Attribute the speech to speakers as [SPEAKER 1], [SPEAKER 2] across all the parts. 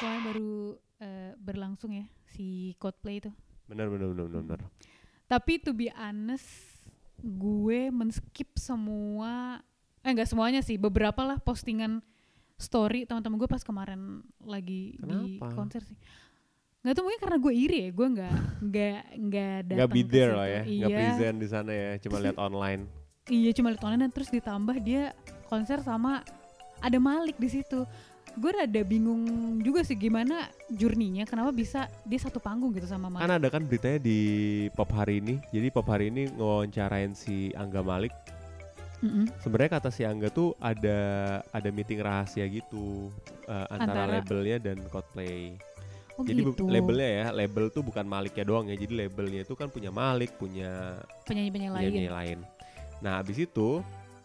[SPEAKER 1] Kemarin baru eh, berlangsung ya si Coldplay itu.
[SPEAKER 2] Benar benar benar benar. benar.
[SPEAKER 1] Tapi to be honest, gue men-skip semua eh enggak semuanya sih, beberapa lah postingan story teman-teman gue pas kemarin lagi di
[SPEAKER 2] Kenapa?
[SPEAKER 1] konser sih. Nggak tuh mungkin karena gue iri ya, gue nggak nggak nggak datang
[SPEAKER 2] Nggak be
[SPEAKER 1] ke
[SPEAKER 2] there
[SPEAKER 1] situ.
[SPEAKER 2] lah ya,
[SPEAKER 1] Iya,
[SPEAKER 2] nggak present di sana ya, cuma
[SPEAKER 1] Terus
[SPEAKER 2] lihat online.
[SPEAKER 1] Iya cuma lihat online dan terus ditambah dia konser sama ada Malik di situ. Gue rada bingung juga sih gimana jurninya, kenapa bisa dia satu panggung gitu sama Malik.
[SPEAKER 2] Kan ada kan beritanya di Pop hari ini. Jadi Pop hari ini ngewawancarain si Angga Malik.
[SPEAKER 1] Mm-mm.
[SPEAKER 2] Sebenarnya kata si Angga tuh ada ada meeting rahasia gitu eh, antara,
[SPEAKER 1] Antara-
[SPEAKER 2] labelnya dan Coldplay.
[SPEAKER 1] Oh
[SPEAKER 2] Jadi bu-
[SPEAKER 1] gitu.
[SPEAKER 2] labelnya ya, label tuh bukan Maliknya doang ya. Jadi labelnya itu kan punya Malik, punya
[SPEAKER 1] penyanyi-penyanyi lain.
[SPEAKER 2] penyanyi Iya, lain. Nah, habis itu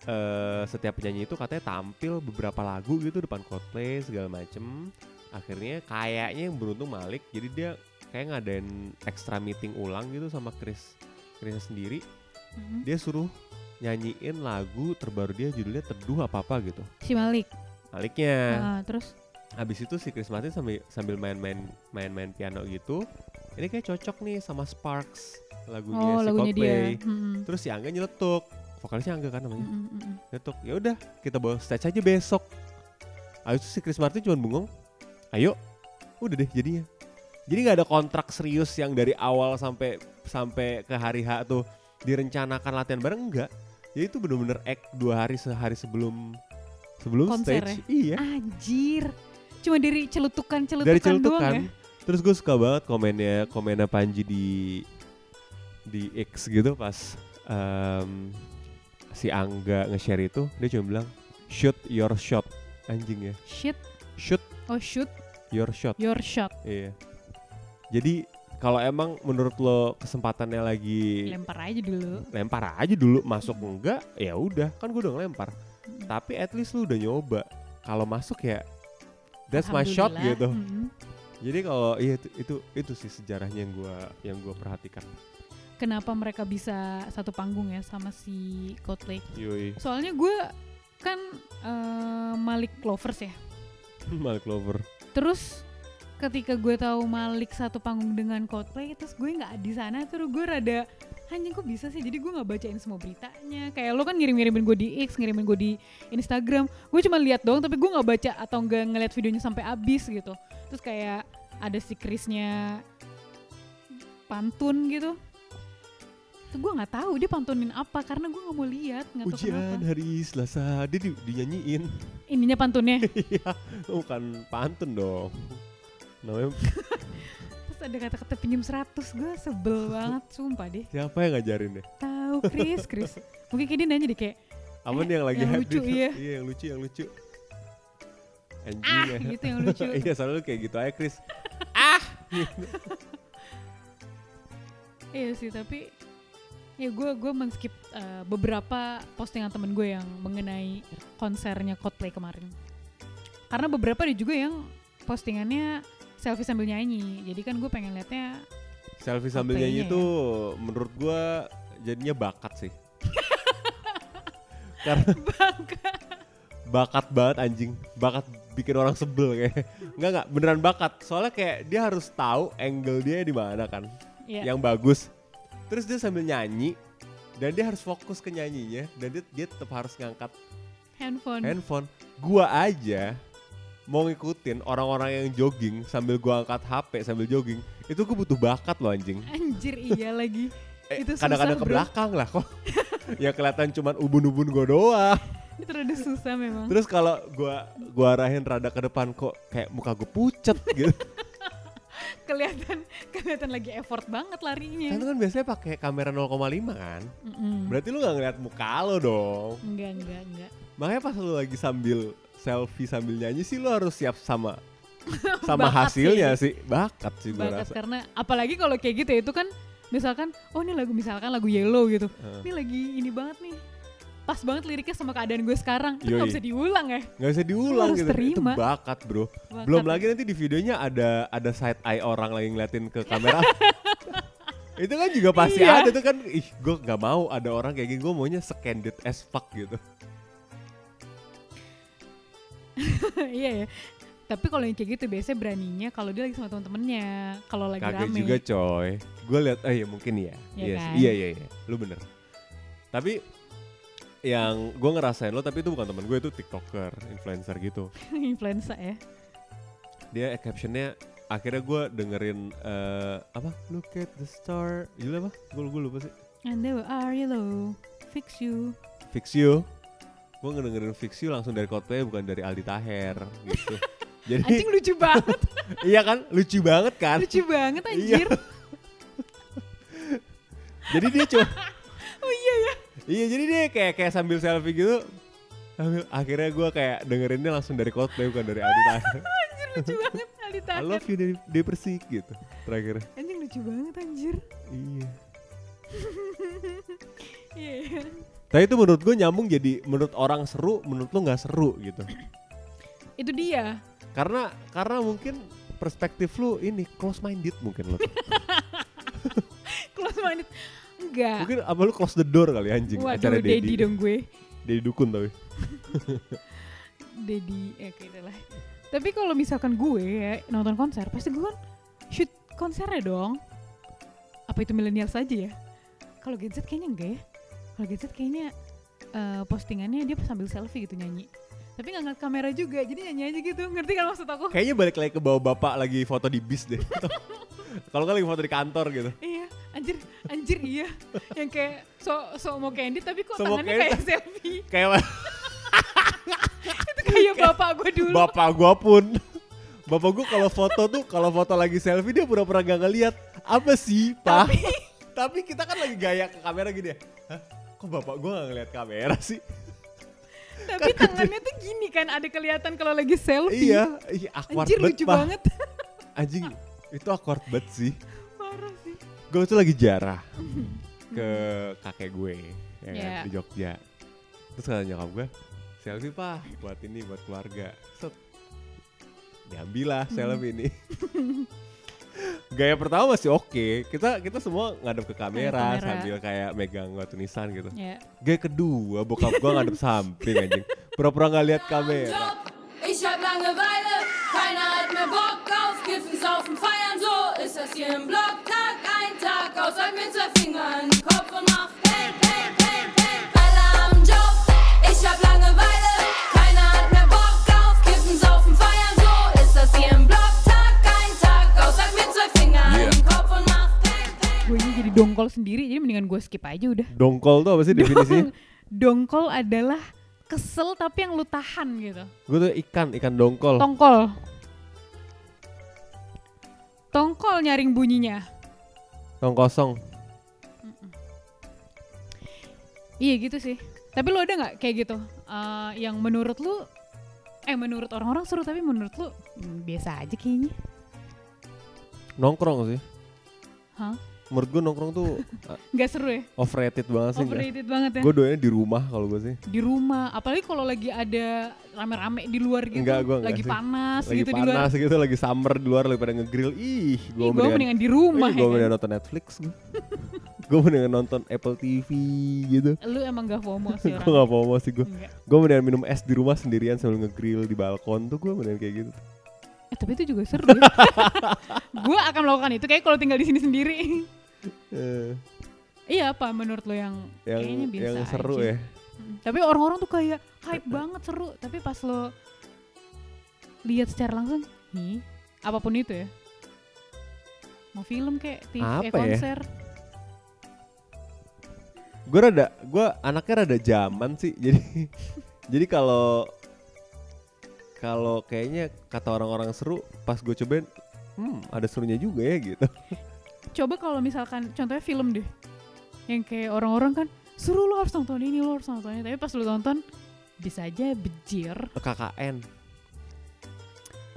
[SPEAKER 2] eh setiap penyanyi itu katanya tampil beberapa lagu gitu depan Coldplay segala macem. Akhirnya kayaknya yang beruntung Malik, jadi dia kayak ngadain extra meeting ulang gitu sama Chris Chrisnya sendiri.
[SPEAKER 1] Mhm.
[SPEAKER 2] Dia suruh nyanyiin lagu terbaru dia judulnya Teduh apa apa gitu.
[SPEAKER 1] Si Malik.
[SPEAKER 2] Maliknya.
[SPEAKER 1] Ah, terus
[SPEAKER 2] Habis itu si Chris Martin sambil sambil main-main main-main piano gitu. Ini kayak cocok nih sama Sparks lagunya
[SPEAKER 1] oh
[SPEAKER 2] si
[SPEAKER 1] lagunya dia.
[SPEAKER 2] Coldplay.
[SPEAKER 1] Mm-mm.
[SPEAKER 2] Terus si Angga nyeletuk. Vokalisnya Angga kan namanya.
[SPEAKER 1] Mm-mm, mm-mm.
[SPEAKER 2] Nyetuk. Ya udah, kita bawa stage aja besok. Habis itu si Chris Martin cuma bengong. Ayo. Udah deh jadinya. Jadi nggak ada kontrak serius yang dari awal sampai sampai ke hari H tuh direncanakan latihan bareng enggak. Jadi itu bener-bener act dua hari sehari sebelum sebelum
[SPEAKER 1] Konser
[SPEAKER 2] stage. Iya.
[SPEAKER 1] Anjir. Cuma dari celutukan-celutukan
[SPEAKER 2] dari
[SPEAKER 1] doang
[SPEAKER 2] celutukan.
[SPEAKER 1] ya.
[SPEAKER 2] Terus gue suka banget komennya komennya Panji di di X gitu pas em, si Angga nge-share itu dia cuma bilang shoot your shot anjing ya
[SPEAKER 1] Shit.
[SPEAKER 2] shoot
[SPEAKER 1] Oh shoot
[SPEAKER 2] your shot
[SPEAKER 1] your shot.
[SPEAKER 2] iya jadi kalau emang menurut lo kesempatannya lagi
[SPEAKER 1] Lempar aja dulu.
[SPEAKER 2] lempar aja dulu masuk enggak ya udah kan gue udah ngelempar tapi at least lu udah nyoba kalau masuk ya that's my shot
[SPEAKER 1] Alhamdulillah.
[SPEAKER 2] gitu
[SPEAKER 1] Mm-mm.
[SPEAKER 2] Jadi kalau iya itu, itu itu sih sejarahnya yang gua yang gua perhatikan.
[SPEAKER 1] Kenapa mereka bisa satu panggung ya sama si Coldplay?
[SPEAKER 2] Yoi.
[SPEAKER 1] Soalnya gue kan eh, Malik Lovers ya.
[SPEAKER 2] Malik Lover.
[SPEAKER 1] Terus ketika gue tahu Malik satu panggung dengan Coldplay terus gue nggak di sana terus gue rada anjing kok bisa sih jadi gue nggak bacain semua beritanya kayak lo kan ngirim-ngirimin gue di X ngirimin gue di Instagram gue cuma lihat doang tapi gue nggak baca atau nggak ngeliat videonya sampai habis gitu terus kayak ada si Chrisnya pantun gitu tuh gue nggak tahu dia pantunin apa karena gue nggak mau lihat nggak tahu
[SPEAKER 2] Ujian
[SPEAKER 1] kenapa
[SPEAKER 2] hari Selasa dia di- dinyanyiin.
[SPEAKER 1] ininya pantunnya
[SPEAKER 2] Iya, bukan pantun dong. Namanya
[SPEAKER 1] terus ada kata-kata pinjam 100 gue sebel banget sumpah deh
[SPEAKER 2] siapa yang ngajarin ya? deh?
[SPEAKER 1] tahu Chris Chris mungkin kayak dia nanya deh kayak
[SPEAKER 2] Apa nih yang lagi
[SPEAKER 1] yang
[SPEAKER 2] happy
[SPEAKER 1] lucu,
[SPEAKER 2] tuh?
[SPEAKER 1] iya.
[SPEAKER 2] yang lucu, yang lucu. Anjing
[SPEAKER 1] ah
[SPEAKER 2] ya.
[SPEAKER 1] gitu yang lucu
[SPEAKER 2] iya, selalu kayak gitu aja, Chris.
[SPEAKER 1] iya sih tapi ya gue gue men-skip eh, beberapa postingan temen gue yang mengenai konsernya Coldplay kemarin karena beberapa ada juga yang postingannya selfie sambil nyanyi jadi kan gue pengen liatnya
[SPEAKER 2] Selfie sambil
[SPEAKER 1] Apanya
[SPEAKER 2] nyanyi
[SPEAKER 1] ya?
[SPEAKER 2] tuh menurut gua jadinya bakat sih. Karena bakat banget anjing. Bakat bikin orang sebel kayak. Enggak enggak, beneran bakat. Soalnya kayak dia harus tahu angle dia di mana kan.
[SPEAKER 1] ya
[SPEAKER 2] Yang bagus. Terus dia sambil nyanyi dan dia harus fokus ke nyanyinya dan dia, dia tetap harus ngangkat
[SPEAKER 1] handphone
[SPEAKER 2] handphone. Gua aja mau ngikutin orang-orang yang jogging sambil gua angkat HP sambil jogging. Itu gue butuh bakat loh anjing.
[SPEAKER 1] anjir iya lagi
[SPEAKER 2] Eh,
[SPEAKER 1] Itu
[SPEAKER 2] kadang-kadang
[SPEAKER 1] susah,
[SPEAKER 2] ke
[SPEAKER 1] bro.
[SPEAKER 2] belakang lah kok ya kelihatan cuman ubun-ubun gue doang
[SPEAKER 1] itu rada susah memang
[SPEAKER 2] terus kalau gua gua arahin rada ke depan kok kayak muka gue pucet gitu
[SPEAKER 1] kelihatan kelihatan lagi effort banget
[SPEAKER 2] kan
[SPEAKER 1] larinya
[SPEAKER 2] itu kan biasanya pakai kamera 0,5 kan
[SPEAKER 1] Mm-mm.
[SPEAKER 2] berarti lu nggak ngeliat muka lo dong
[SPEAKER 1] enggak enggak enggak
[SPEAKER 2] makanya pas lu lagi sambil selfie sambil nyanyi sih lu harus siap sama sama
[SPEAKER 1] Bakat
[SPEAKER 2] hasilnya sih bakat kan. sih gue
[SPEAKER 1] Bakat
[SPEAKER 2] rasa
[SPEAKER 1] karena apalagi kalau kayak gitu ya itu kan misalkan oh ini lagu misalkan lagu Yellow gitu.
[SPEAKER 2] Heeh.
[SPEAKER 1] Ini lagi ini banget nih. Pas banget liriknya sama keadaan gue sekarang. Itu nggak
[SPEAKER 2] Yoi.
[SPEAKER 1] bisa diulang ya.
[SPEAKER 2] nggak bisa diulang
[SPEAKER 1] harus
[SPEAKER 2] gitu itu
[SPEAKER 1] terima.
[SPEAKER 2] bakat bro
[SPEAKER 1] Bakat.
[SPEAKER 2] belum lagi nanti di videonya ada ada side eye orang lagi ngeliatin ke kamera itu kan juga pasti
[SPEAKER 1] Iya.
[SPEAKER 2] ada tuh kan ih gue nggak mau ada orang kayak gini gue maunya secandid as fuck gitu
[SPEAKER 1] Iya ya. Tapi kalau yang kayak gitu biasanya beraninya kalau dia lagi sama temen-temennya, kalau lagi
[SPEAKER 2] kaget
[SPEAKER 1] rame.
[SPEAKER 2] juga coy gue lihat eh ya mungkin
[SPEAKER 1] Iya
[SPEAKER 2] ya Iya
[SPEAKER 1] kan?
[SPEAKER 2] sih. iya iya iya lu bener tapi yang gue ngerasain lo tapi itu bukan temen gue itu tiktoker influencer gitu
[SPEAKER 1] Influenza ya.
[SPEAKER 2] dia captionnya akhirnya gue dengerin eh, apa look at the star judulnya apa gue gue lupa sih
[SPEAKER 1] And there are yellow, fix you.
[SPEAKER 2] fix you gue ngedengerin fix you langsung dari Coldplay bukan dari Aldi Taher gitu jadi
[SPEAKER 1] Anjing lucu banget,
[SPEAKER 2] iya kan lucu banget kan
[SPEAKER 1] lucu banget anjir.
[SPEAKER 2] jadi dia cuma
[SPEAKER 1] Oh iya ya.
[SPEAKER 2] Iya jadi dia kayak kayak sambil selfie gitu sambil akhirnya gue kayak dengerinnya langsung dari Coldplay bukan dari Aldi Taher.
[SPEAKER 1] Anjir lucu banget Aldi
[SPEAKER 2] I
[SPEAKER 1] Taher.
[SPEAKER 2] love you dari dari Persik gitu terakhir.
[SPEAKER 1] Anjing lucu banget anjir.
[SPEAKER 2] Iya.
[SPEAKER 1] Iya. iya.
[SPEAKER 2] Tapi itu menurut gue nyambung jadi menurut orang seru, menurut lo nggak seru gitu.
[SPEAKER 1] Itu dia.
[SPEAKER 2] Karena karena mungkin perspektif lu ini close minded mungkin lo.
[SPEAKER 1] Close minded. Enggak.
[SPEAKER 2] mungkin apa lu close the door kali ya, anjing
[SPEAKER 1] Waduh, Dedi
[SPEAKER 2] Dedi.
[SPEAKER 1] dong gue.
[SPEAKER 2] Dedi dukun tapi.
[SPEAKER 1] Dedi eh kayak gitu lah. Tapi kalau misalkan gue ya, nonton konser, pasti gue kan shoot konsernya dong. Apa itu milenial saja ya? Kalau Gen Z kayaknya enggak ya. Kalau Gen Z kayaknya eh, postingannya dia sambil selfie gitu nyanyi. Tapi nggak ngeliat kamera juga, jadi nyanyi aja gitu. Ngerti kan maksud aku?
[SPEAKER 2] Kayaknya balik lagi ke bawah bapak lagi foto di bis deh. Kalau nggak lagi foto di kantor gitu.
[SPEAKER 1] Iya, anjir, anjir iya. Yang kayak so so mau candy tapi kok
[SPEAKER 2] So mau
[SPEAKER 1] tangannya
[SPEAKER 2] candy.
[SPEAKER 1] kayak selfie.
[SPEAKER 2] Kayak
[SPEAKER 1] Itu kayak bapak gue dulu.
[SPEAKER 2] Bapak gua pun. Bapak gua kalau foto tuh kalau foto lagi selfie dia pura-pura gak ngeliat. Apa sih, Pak? Tapi, kita kan lagi gaya ke kamera gini ya. Hah? Kok bapak gua gak ngeliat kamera sih?
[SPEAKER 1] tapi tangannya tuh gini kan, ada kelihatan kalau lagi selfie.
[SPEAKER 2] gitu. iya, iya awkward
[SPEAKER 1] Anjir
[SPEAKER 2] bet,
[SPEAKER 1] lucu
[SPEAKER 2] Pak.
[SPEAKER 1] banget.
[SPEAKER 2] Anjing, itu awkward banget sih.
[SPEAKER 1] Parah sih.
[SPEAKER 2] Gua tuh lagi jarah ke kakek gue ya kan,
[SPEAKER 1] Iya.
[SPEAKER 2] di Jogja. Terus kata nyokap gue, selfie pak buat ini buat keluarga. Set. Diambil lah
[SPEAKER 1] Hmm.
[SPEAKER 2] selfie ini. Gaya pertama masih oke. Kita kita semua ngadep ke kamera,
[SPEAKER 1] kamera.
[SPEAKER 2] sambil kayak megang batu nisan gitu.
[SPEAKER 1] Ya.
[SPEAKER 2] Gaya kedua bokap gue ngadep samping anjing. Pura-pura nggak
[SPEAKER 1] Ya
[SPEAKER 2] lihat kamera.
[SPEAKER 3] Job. Ich hab Langeweile, keiner hat mehr Bock auf Kiffen, Saufen, Feiern, so ist das hier im Block. Tag ein, Tag aus, sag mir zwei Finger in den Kopf und mach hey, hey, hey, hey. Alle haben Job, ich hab Langeweile, keiner hat mehr Bock auf Kiffen, Saufen, Feiern, so ist das hier im Block. Tag ein, Tag aus, sag mir zwei Finger in den Kopf und mach hey, hey.
[SPEAKER 1] Gue ini jadi dongkol sendiri, jadi mendingan gue skip aja udah.
[SPEAKER 2] Dongkol tuh apa sih definisinya?
[SPEAKER 1] dongkol adalah kesel tapi yang lu tahan gitu.
[SPEAKER 2] Gue tuh ikan, ikan dongkol.
[SPEAKER 1] Tongkol. Tongkol nyaring bunyinya.
[SPEAKER 2] Tong kosong.
[SPEAKER 1] Iya gitu sih. Tapi lu ada nggak kayak gitu Eh, yang menurut lu eh menurut orang-orang seru tapi menurut lu hmm, biasa aja kayaknya.
[SPEAKER 2] Nongkrong sih.
[SPEAKER 1] Hah?
[SPEAKER 2] Menurut gue nongkrong tuh eh,
[SPEAKER 1] Nggak seru ya?
[SPEAKER 2] overrated banget sih. nggak-
[SPEAKER 1] Overrated banget ya.
[SPEAKER 2] Gue doanya di rumah kalau gue sih.
[SPEAKER 1] Di rumah, apalagi kalau lagi ada rame-rame di luar gitu,
[SPEAKER 2] Enggak, gua enggak
[SPEAKER 1] lagi
[SPEAKER 2] sih.
[SPEAKER 1] panas
[SPEAKER 2] Lagi
[SPEAKER 1] gitu di luar.
[SPEAKER 2] panas gitu, lagi summer di luar lagi pada ngegrill. Ih, gue
[SPEAKER 1] Ih, gua mendingan di rumah
[SPEAKER 2] Gue
[SPEAKER 1] ya
[SPEAKER 2] mendingan nonton Netflix. gue mendingan nonton Apple TV gitu.
[SPEAKER 1] Lu emang gak FOMO sih
[SPEAKER 2] gue
[SPEAKER 1] orang.
[SPEAKER 2] gak mau sih gue.
[SPEAKER 1] Enggak.
[SPEAKER 2] Gue mendingan minum es di rumah sendirian sambil ngegrill di balkon tuh gue mendingan kayak gitu.
[SPEAKER 1] Eh, tapi itu juga seru ya. gue akan melakukan itu kayak kalau tinggal di sini sendiri.
[SPEAKER 2] Eh,
[SPEAKER 1] iya apa menurut lo yang,
[SPEAKER 2] yang
[SPEAKER 1] kayaknya biasa
[SPEAKER 2] yang seru
[SPEAKER 1] aja.
[SPEAKER 2] ya.
[SPEAKER 1] Mm, Tapi orang-orang tuh kayak hype banget seru, tapi pas lo lihat secara langsung, nih apapun itu ya. Mau film kayak TV, eh,
[SPEAKER 2] Apa ya?
[SPEAKER 1] konser.
[SPEAKER 2] Gue rada, gue anaknya rada zaman sih. Jadi jadi kalau kalau kayaknya kata orang-orang seru, pas gue cobain, hmm ada serunya juga ya gitu.
[SPEAKER 1] Coba kalau misalkan contohnya film deh. Yang kayak orang-orang kan suruh lo harus nonton ini, lo harus nonton ini, tapi pas lo tonton bisa aja bejir.
[SPEAKER 2] KKN.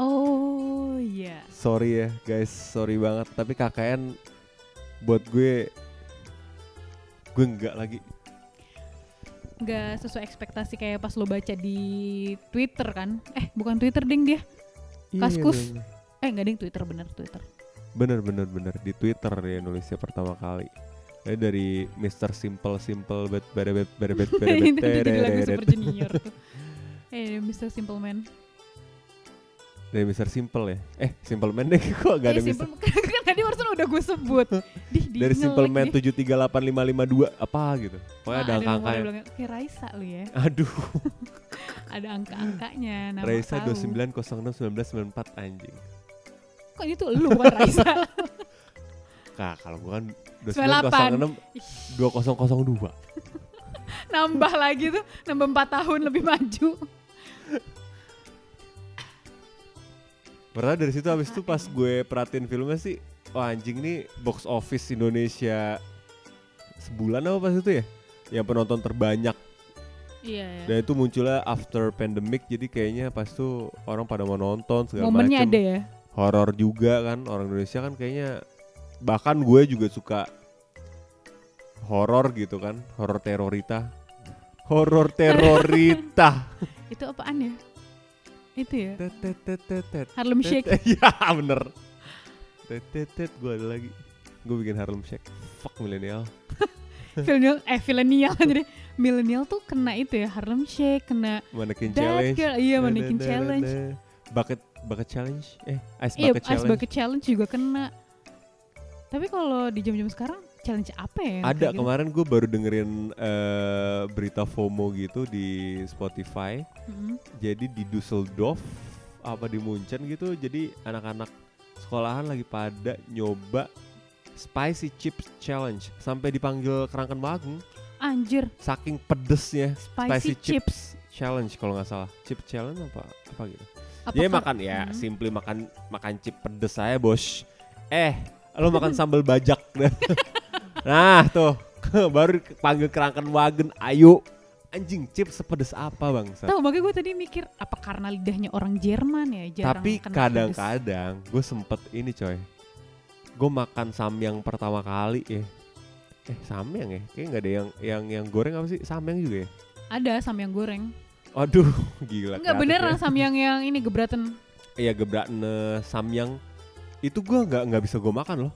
[SPEAKER 1] Oh,
[SPEAKER 2] sorry ya guys, sorry banget. Tapi KKN buat gue, gue nggak lagi.
[SPEAKER 1] nggak sesuai ekspektasi kayak pas lo baca di Twitter kan eh bukan Twitter ding dia
[SPEAKER 2] Iya,
[SPEAKER 1] Kaskus.
[SPEAKER 2] dong.
[SPEAKER 1] eh nggak ding Twitter bener Twitter
[SPEAKER 2] Bener bener bener di Twitter dia nulisnya pertama kali. Ini dari Mr. Simple Simple but bad bad bad bad bad
[SPEAKER 1] itu jadi lagu Super Junior tuh eh Mr. Simple Man
[SPEAKER 2] Dari Mr. Simple ya. Eh, Simple Man deh kok gak
[SPEAKER 1] eh,
[SPEAKER 2] ada Mr.
[SPEAKER 1] Simple kan, kan tadi barusan udah gue sebut Dih,
[SPEAKER 2] Dari
[SPEAKER 1] diinget
[SPEAKER 2] Simple
[SPEAKER 1] lagi
[SPEAKER 2] Man
[SPEAKER 1] deh.
[SPEAKER 2] 7385552 apa gitu. Pokoknya
[SPEAKER 1] Ah,
[SPEAKER 2] ada angka
[SPEAKER 1] nomor belakang. kayak Raisa lu ya
[SPEAKER 2] Aduh,
[SPEAKER 1] ada angka-angangkanya nama
[SPEAKER 2] Raisa
[SPEAKER 1] tahu.
[SPEAKER 2] 29061994 anjing.
[SPEAKER 1] kok itu lu bukan Raisa
[SPEAKER 2] Kak, kalau gua kan
[SPEAKER 1] 98.
[SPEAKER 2] 2906 2002.
[SPEAKER 1] nambah lagi tuh nambah 4 tahun lebih maju
[SPEAKER 2] Pertama dari situ habis itu pas gue perhatiin filmnya sih, wah anjing nih box office Indonesia sebulan apa pas itu ya? Yang penonton terbanyak
[SPEAKER 1] iya
[SPEAKER 2] dan itu munculnya after pandemic jadi kayaknya pas itu orang pada mau nonton segala
[SPEAKER 1] momennya
[SPEAKER 2] macem.
[SPEAKER 1] ada ya
[SPEAKER 2] horor juga kan orang Indonesia kan kayaknya bahkan gue juga suka horor gitu kan horor terorita horor terorita
[SPEAKER 1] itu apaan ya itu ya
[SPEAKER 2] Tet, tet, tet, tet, tet.
[SPEAKER 1] Harlem
[SPEAKER 2] Tet,
[SPEAKER 1] Shake
[SPEAKER 2] tet. ya bener tet tet tet gue ada lagi gue bikin Harlem Shake fuck milenial
[SPEAKER 1] milenial eh milenial jadi milenial tuh kena itu ya Harlem Shake kena
[SPEAKER 2] mannequin
[SPEAKER 1] That
[SPEAKER 2] challenge
[SPEAKER 1] girl, iya mannequin
[SPEAKER 2] Da, da, da, da,
[SPEAKER 1] challenge.
[SPEAKER 2] da. bucket bucket challenge eh ice
[SPEAKER 1] Iya,
[SPEAKER 2] bucket
[SPEAKER 1] Ice
[SPEAKER 2] challenge
[SPEAKER 1] Bucket Challenge juga kena. Tapi kalau di jam-jam sekarang challenge apa ya? yang
[SPEAKER 2] ada
[SPEAKER 1] kayak gitu?
[SPEAKER 2] kemarin gue baru dengerin eh, berita FOMO gitu di Spotify
[SPEAKER 1] Mm-mm.
[SPEAKER 2] jadi di Düsseldorf apa di Munchen gitu jadi anak-anak sekolahan lagi pada nyoba spicy chips challenge sampai dipanggil kerangkan Magung
[SPEAKER 1] Anjir,
[SPEAKER 2] saking pedesnya
[SPEAKER 1] spicy,
[SPEAKER 2] Spicy
[SPEAKER 1] chips.
[SPEAKER 2] challenge kalau nggak salah chip challenge apa apa gitu
[SPEAKER 1] Apa
[SPEAKER 2] jadi
[SPEAKER 1] kar-
[SPEAKER 2] makan ya
[SPEAKER 1] Hmm.
[SPEAKER 2] simply makan makan chip pedes saya bos eh lo makan
[SPEAKER 1] Hmm.
[SPEAKER 2] sambal bajak nah tuh baru panggil kerangkan wagen ayo anjing chip sepedes apa bangsa
[SPEAKER 1] Tahu makanya gue tadi mikir apa karena lidahnya orang Jerman ya jarang
[SPEAKER 2] Tapi
[SPEAKER 1] kena
[SPEAKER 2] kan-
[SPEAKER 1] pedes.
[SPEAKER 2] kadang-kadang gue sempet ini coy Gue makan samyang pertama kali ya Eh samyang ya? Kayaknya gak ada yang yang yang goreng apa sih? Samyang juga ya?
[SPEAKER 1] ada samyang goreng.
[SPEAKER 2] Aduh gila
[SPEAKER 1] Enggak
[SPEAKER 2] kreatif
[SPEAKER 1] beneran
[SPEAKER 2] ya.
[SPEAKER 1] samyang yang ini gebraten.
[SPEAKER 2] Iya gebrakne samyang Itu gue gak, nggak bisa gue makan loh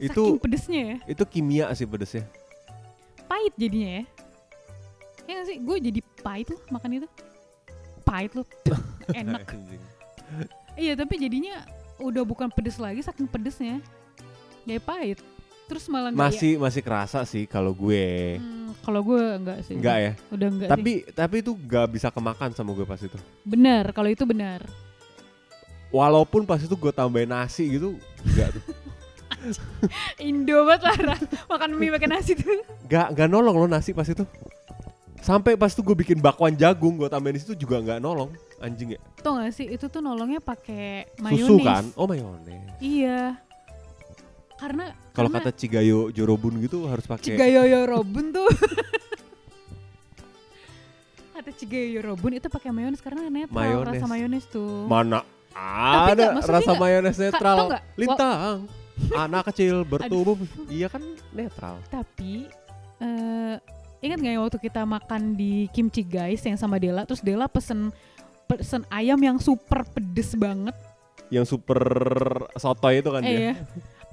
[SPEAKER 1] Saking
[SPEAKER 2] Itu
[SPEAKER 1] pedesnya ya.
[SPEAKER 2] itu kimia sih pedesnya
[SPEAKER 1] Pahit jadinya ya. Ya nggak sih, gue jadi pahit loh makan itu. Pahit loh. Enak.
[SPEAKER 2] Anjing.
[SPEAKER 1] Iya tapi jadinya udah bukan pedes lagi saking pedesnya kayak pahit. Terus malah nggak ya-
[SPEAKER 2] Masih masih kerasa sih kalau gue
[SPEAKER 1] Hmm, kalau gue enggak sih.
[SPEAKER 2] Enggak ya
[SPEAKER 1] Udah enggak Hmm. sih.
[SPEAKER 2] Tapi tapi itu gak bisa kemakan sama gue pas itu
[SPEAKER 1] Benar, kalau itu benar.
[SPEAKER 2] Walaupun pas itu gue tambahin nasi gitu Gak tuh
[SPEAKER 1] Indo banget parah. Makan mie pakai nasi tuh.
[SPEAKER 2] gak, gak nolong loh nasi pas itu sampai pas itu gue bikin bakwan jagung gue tambahin di situ juga nggak nolong anjing ya
[SPEAKER 1] Tau gak sih itu tuh nolongnya pakai mayones.
[SPEAKER 2] susu kan oh mayones
[SPEAKER 1] Iya. Karena
[SPEAKER 2] kalau
[SPEAKER 1] karena
[SPEAKER 2] kata cigayo jorobun gitu harus pakai
[SPEAKER 1] Cigayoyo Robun tuh. kata Cigayoyo Robun itu pakai mayones karena netral
[SPEAKER 2] Mayones.
[SPEAKER 1] rasa mayones tuh.
[SPEAKER 2] mana
[SPEAKER 1] nggak,
[SPEAKER 2] ada
[SPEAKER 1] maksudnya
[SPEAKER 2] rasa
[SPEAKER 1] nggak-
[SPEAKER 2] mayones netral
[SPEAKER 1] tau nggak? Wa-
[SPEAKER 2] lintang anak kecil bertubuh iya kan netral
[SPEAKER 1] Tapi eh ingat nggak yang waktu kita makan di Kimchi Guys yang sama Dela, terus Dela pesen pesen ayam yang super pedes banget.
[SPEAKER 2] yang super sotoy itu kan
[SPEAKER 1] eh,
[SPEAKER 2] dia
[SPEAKER 1] ya.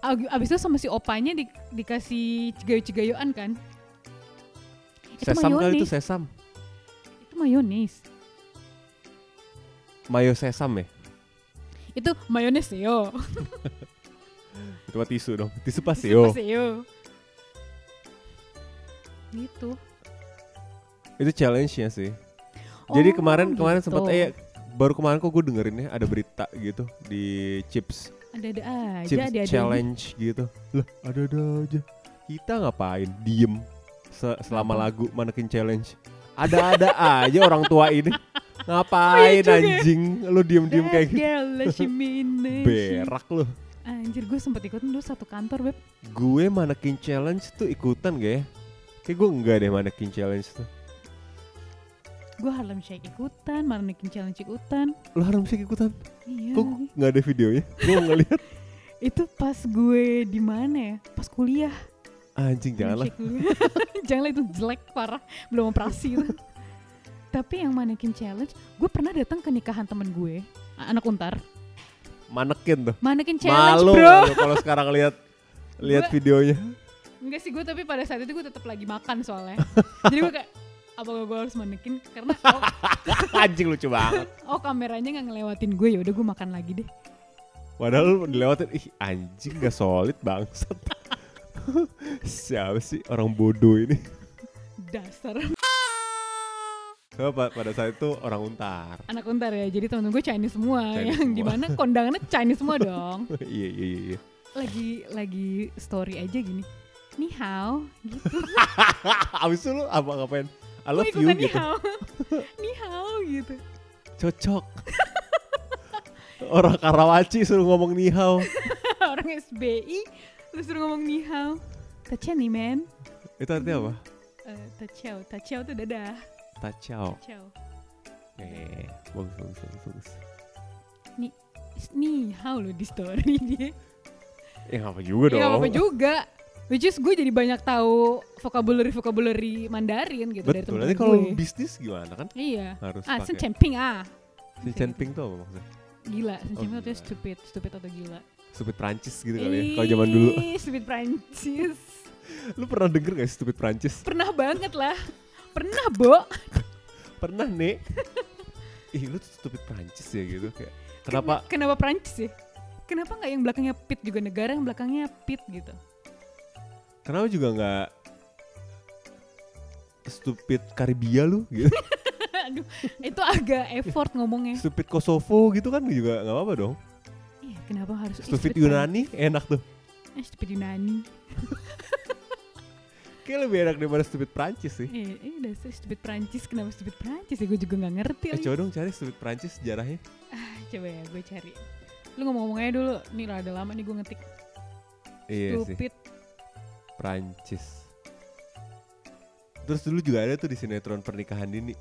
[SPEAKER 1] Ag- Abis itu sama si opanya di- dikasih cigayo-cigayoan kan? Itu
[SPEAKER 2] sesam kali itu
[SPEAKER 1] mayones.
[SPEAKER 2] sesam
[SPEAKER 1] Itu mayones.
[SPEAKER 2] mayo sesam ya
[SPEAKER 1] Itu mayones yo.
[SPEAKER 2] itu mah tisu dong tisu pasio
[SPEAKER 1] yo. Gitu.
[SPEAKER 2] itu challenge nya sih Jadi
[SPEAKER 1] Oh,
[SPEAKER 2] kemarin kemarin
[SPEAKER 1] gitu.
[SPEAKER 2] sempat eh baru kemarin kok gue dengerinnya ada berita gitu di chips
[SPEAKER 1] ada-ada aja
[SPEAKER 2] chips
[SPEAKER 1] ada-ada aja.
[SPEAKER 2] challenge gitu. Lah, ada ada aja. Kita ngapain? Diem se- selama lagu manekin challenge. Ada-ada aja orang tua ini. Ngapain
[SPEAKER 1] juga ya.
[SPEAKER 2] anjing? Lu diem-diem
[SPEAKER 1] That
[SPEAKER 2] kayak gitu.
[SPEAKER 1] girl, she mean it, she-
[SPEAKER 2] Berak lu.
[SPEAKER 1] Anjir gue sempet ikut dulu satu kantor beb
[SPEAKER 2] Gue manekin challenge tuh ikutan gak ya? Kayak gue enggak deh manekin challenge tuh.
[SPEAKER 1] Gue Harlem Shake ikutan, Manekin Challenge ikutan
[SPEAKER 2] Lu harus ikutan.
[SPEAKER 1] Iya
[SPEAKER 2] Kok
[SPEAKER 1] lagi.
[SPEAKER 2] nggak ada videonya? Gue nggak lihat.
[SPEAKER 1] Itu pas gue di mana ya? Pas kuliah.
[SPEAKER 2] Anjing janganlah.
[SPEAKER 1] Milkshake dulu. Janganlah itu jelek parah, belum operasi itu. Tapi yang mannequin challenge, gue pernah datang ke nikahan temen gue, a- anak untar.
[SPEAKER 2] Manekin tuh.
[SPEAKER 1] Mannequin challenge,
[SPEAKER 2] Malu
[SPEAKER 1] bro.
[SPEAKER 2] malu kalau sekarang lihat lihat
[SPEAKER 1] Gua-
[SPEAKER 2] videonya.
[SPEAKER 1] Enggak sih gue, tapi pada saat itu gue tetap lagi makan soalnya. Jadi gue kayak, apa gue harus mannequin? Karena oh,
[SPEAKER 2] Anjing lucu banget.
[SPEAKER 1] oh, kameranya nggak ngelewatin gue, ya udah gue makan lagi deh.
[SPEAKER 2] Padahal dilewatin, ih anjing gak solid bangsat. Siapa sih orang bodoh ini?
[SPEAKER 1] Dasar
[SPEAKER 2] Soalnya pa- pada saat itu orang untar.
[SPEAKER 1] anak untar ya. Jadi temen gue Chinese semua,
[SPEAKER 2] Chinese
[SPEAKER 1] yang
[SPEAKER 2] semua.
[SPEAKER 1] dimana kondangannya Chinese semua dong.
[SPEAKER 2] iya iya iya, iya.
[SPEAKER 1] Lagi lagi story aja gini. Ni hao, gitu.
[SPEAKER 2] Abis itu lu apa ngapain? I
[SPEAKER 1] Gue
[SPEAKER 2] love you
[SPEAKER 1] ikutan
[SPEAKER 2] gitu.
[SPEAKER 1] nihao nihao gitu
[SPEAKER 2] Cocok. orang Karawaci suruh ngomong nihao.
[SPEAKER 1] orang SBI terus suruh ngomong nihao tachia nih men
[SPEAKER 2] Itu artinya apa?
[SPEAKER 1] Eh, tachao tachao tuh dadah
[SPEAKER 2] Tachao.
[SPEAKER 1] tachao
[SPEAKER 2] Eh, bagus bagus bagus bagus.
[SPEAKER 1] nih hao lo di story dia
[SPEAKER 2] Ya ngapa juga dong.
[SPEAKER 1] ya apa juga which is gue jadi banyak tahu vocabulary vocabulary Mandarin gitu dari
[SPEAKER 2] Betul.
[SPEAKER 1] temen
[SPEAKER 2] Nanti kalau bisnis gimana kan?
[SPEAKER 1] iya
[SPEAKER 2] Harus
[SPEAKER 1] ah sen
[SPEAKER 2] pakai.
[SPEAKER 1] champing ah
[SPEAKER 2] Si Chen tuh apa maksudnya?
[SPEAKER 1] gila sen
[SPEAKER 2] Oh,
[SPEAKER 1] champing
[SPEAKER 2] gila.
[SPEAKER 1] tuh stupid stupid atau gila
[SPEAKER 2] Stupid Prancis gitu kali ya. Kalau zaman dulu.
[SPEAKER 1] Ih, stupid Prancis
[SPEAKER 2] Lu pernah denger gak sih stupid Prancis?
[SPEAKER 1] pernah banget lah pernah bo
[SPEAKER 2] Pernah nih. Ih lu tuh stupid Prancis ya gitu kayak. Kenapa?
[SPEAKER 1] Ken- kenapa Prancis ya? Kenapa nggak yang belakangnya Pit juga negara yang belakangnya Pit gitu?
[SPEAKER 2] Kenapa juga nggak stupid Karibia lu gitu?
[SPEAKER 1] Aduh, itu agak effort ngomongnya.
[SPEAKER 2] stupid Kosovo gitu kan juga nggak apa-apa dong.
[SPEAKER 1] Iya, kenapa harus ih,
[SPEAKER 2] Stupid
[SPEAKER 1] Prancis.
[SPEAKER 2] Yunani enak tuh.
[SPEAKER 1] Eh, stupid Yunani.
[SPEAKER 2] Kayak lebih enak daripada stupid Prancis sih.
[SPEAKER 1] Eh, eh, udah sih, stupid Prancis. Kenapa stupid Prancis ya? Gue juga nggak ngerti.
[SPEAKER 2] Eh
[SPEAKER 1] lagi.
[SPEAKER 2] coba dong cari stupid Prancis sejarahnya.
[SPEAKER 1] Ah, coba ya, gue cari. Lu ngomong-ngomong aja dulu. Nih lah, ada lama nih gue ngetik.
[SPEAKER 2] Iya sih.
[SPEAKER 1] stupid.
[SPEAKER 2] Prancis. Terus dulu juga ada tuh di sinetron pernikahan dini.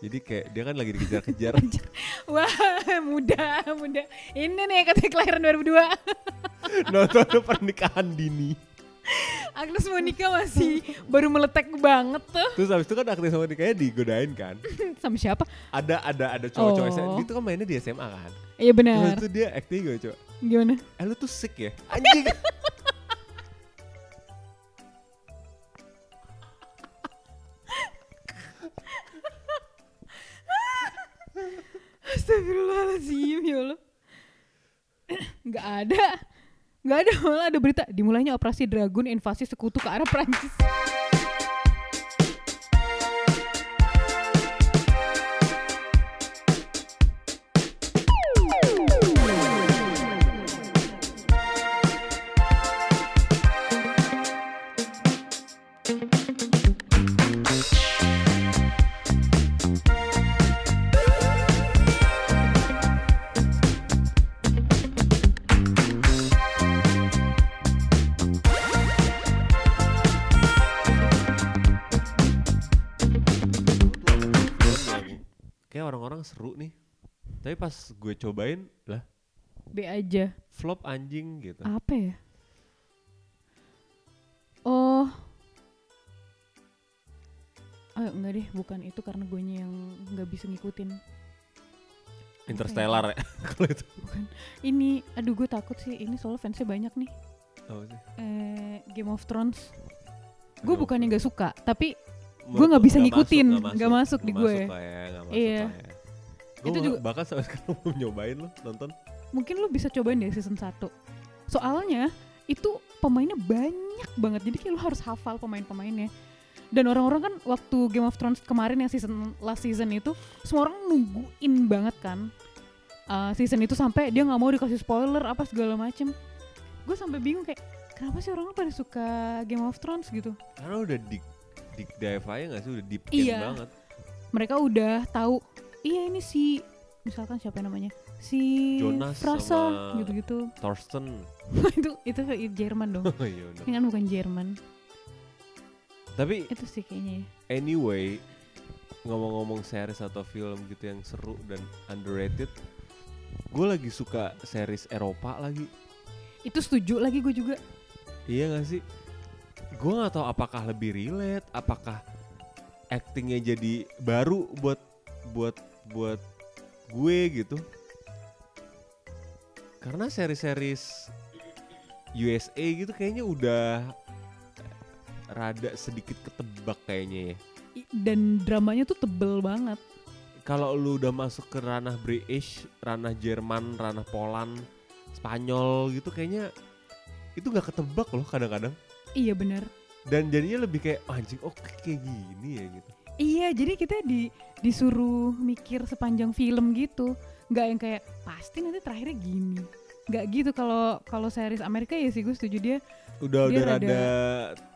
[SPEAKER 2] Jadi kayak dia kan lagi dikejar-kejar.
[SPEAKER 1] Anjir. Wah, muda, muda. Ini nih kata kelahiran 2002.
[SPEAKER 2] nonton tuh pernikahan dini.
[SPEAKER 1] Agnes Monica masih baru meletek banget tuh.
[SPEAKER 2] Terus habis itu kan aktris sama nikahnya digodain kan.
[SPEAKER 1] Sama siapa?
[SPEAKER 2] Ada ada ada cowok-cowok
[SPEAKER 1] Oh.
[SPEAKER 2] SMA. Itu kan mainnya di SMA kan.
[SPEAKER 1] Iya
[SPEAKER 2] Terus
[SPEAKER 1] benar.
[SPEAKER 2] itu dia acting gue coba.
[SPEAKER 1] Gimana?
[SPEAKER 2] Eh lu tuh sick ya? Anjing.
[SPEAKER 1] Astagfirullahaladzim ya Allah Gak ada Gak ada malah ada berita Dimulainya operasi Dragon invasi sekutu ke arah Prancis
[SPEAKER 2] Kayak orang-orang seru nih. Tapi pas gue cobain lah
[SPEAKER 1] B aja
[SPEAKER 2] flop anjing gitu.
[SPEAKER 1] Apa ya? Oh Oh enggak deh bukan itu karena gue yang nggak bisa ngikutin
[SPEAKER 2] Interstellar ya
[SPEAKER 1] iya.
[SPEAKER 2] kalau itu.
[SPEAKER 1] Ini aduh gue takut sih ini soalnya fansnya banyak nih
[SPEAKER 2] Apa sih?
[SPEAKER 1] eh, Game of Thrones Gue
[SPEAKER 2] Aduh,
[SPEAKER 1] bukannya nggak suka tapi
[SPEAKER 2] Menurut
[SPEAKER 1] nggak
[SPEAKER 2] lu
[SPEAKER 1] bisa ngikutin,
[SPEAKER 2] masuk,
[SPEAKER 1] nggak masuk di
[SPEAKER 2] nggak
[SPEAKER 1] gue.
[SPEAKER 2] masuk lah ya, nggak masuk
[SPEAKER 1] Iya.
[SPEAKER 2] lah ya. Gue
[SPEAKER 1] Itu
[SPEAKER 2] itu juga
[SPEAKER 1] juga-
[SPEAKER 2] bahkan sampai sekarang belum nyobain loh nonton.
[SPEAKER 1] mungkin lu bisa cobain dari season 1 soalnya itu pemainnya banyak banget jadi kayak lu harus hafal pemain-pemainnya dan orang-orang kan waktu Game of Thrones kemarin yang season last season itu semua orang nungguin banget kan uh, season itu sampai dia nggak mau dikasih spoiler apa segala macem gue sampai bingung kayak kenapa sih orang pada suka Game of Thrones gitu
[SPEAKER 2] Karena udah deep deep dive aja nggak sih udah deep
[SPEAKER 1] Iya.
[SPEAKER 2] in banget.
[SPEAKER 1] mereka udah tahu iya ini si misalkan siapa namanya si
[SPEAKER 2] Jonas
[SPEAKER 1] Frasa
[SPEAKER 2] sama-
[SPEAKER 1] gitu-gitu
[SPEAKER 2] Thorsten.
[SPEAKER 1] itu itu Jerman dong
[SPEAKER 2] Oh, iya bener.
[SPEAKER 1] Ini kan bukan Jerman.
[SPEAKER 2] Tapi
[SPEAKER 1] Itu sih kayaknya ya.
[SPEAKER 2] anyway ngomong-ngomong series atau film gitu yang seru dan underrated gue lagi suka series Eropa lagi
[SPEAKER 1] Itu setuju lagi gue juga.
[SPEAKER 2] Iya gak sih? Gue gak tahu apakah lebih relate, apakah actingnya jadi baru buat buat buat gue gitu. Karena seri-series USA gitu kayaknya udah rada sedikit ketebak kayaknya ya.
[SPEAKER 1] I- Dan dramanya tuh tebel banget.
[SPEAKER 2] Kalau lu udah masuk ke ranah British, ranah Jerman, ranah Poland, Spanyol gitu kayaknya itu gak ketebak loh kadang-kadang.
[SPEAKER 1] Iya bener.
[SPEAKER 2] dan jadinya lebih kayak "Oh, anjing oh kayak gini ya gitu
[SPEAKER 1] Iya, jadi kita di disuruh mikir sepanjang film gitu, nggak yang kayak pasti nanti terakhirnya gini. Nggak gitu kalau kalau series Amerika ya sih gue setuju dia
[SPEAKER 2] udah
[SPEAKER 1] Dia
[SPEAKER 2] udah
[SPEAKER 1] rada-
[SPEAKER 2] rada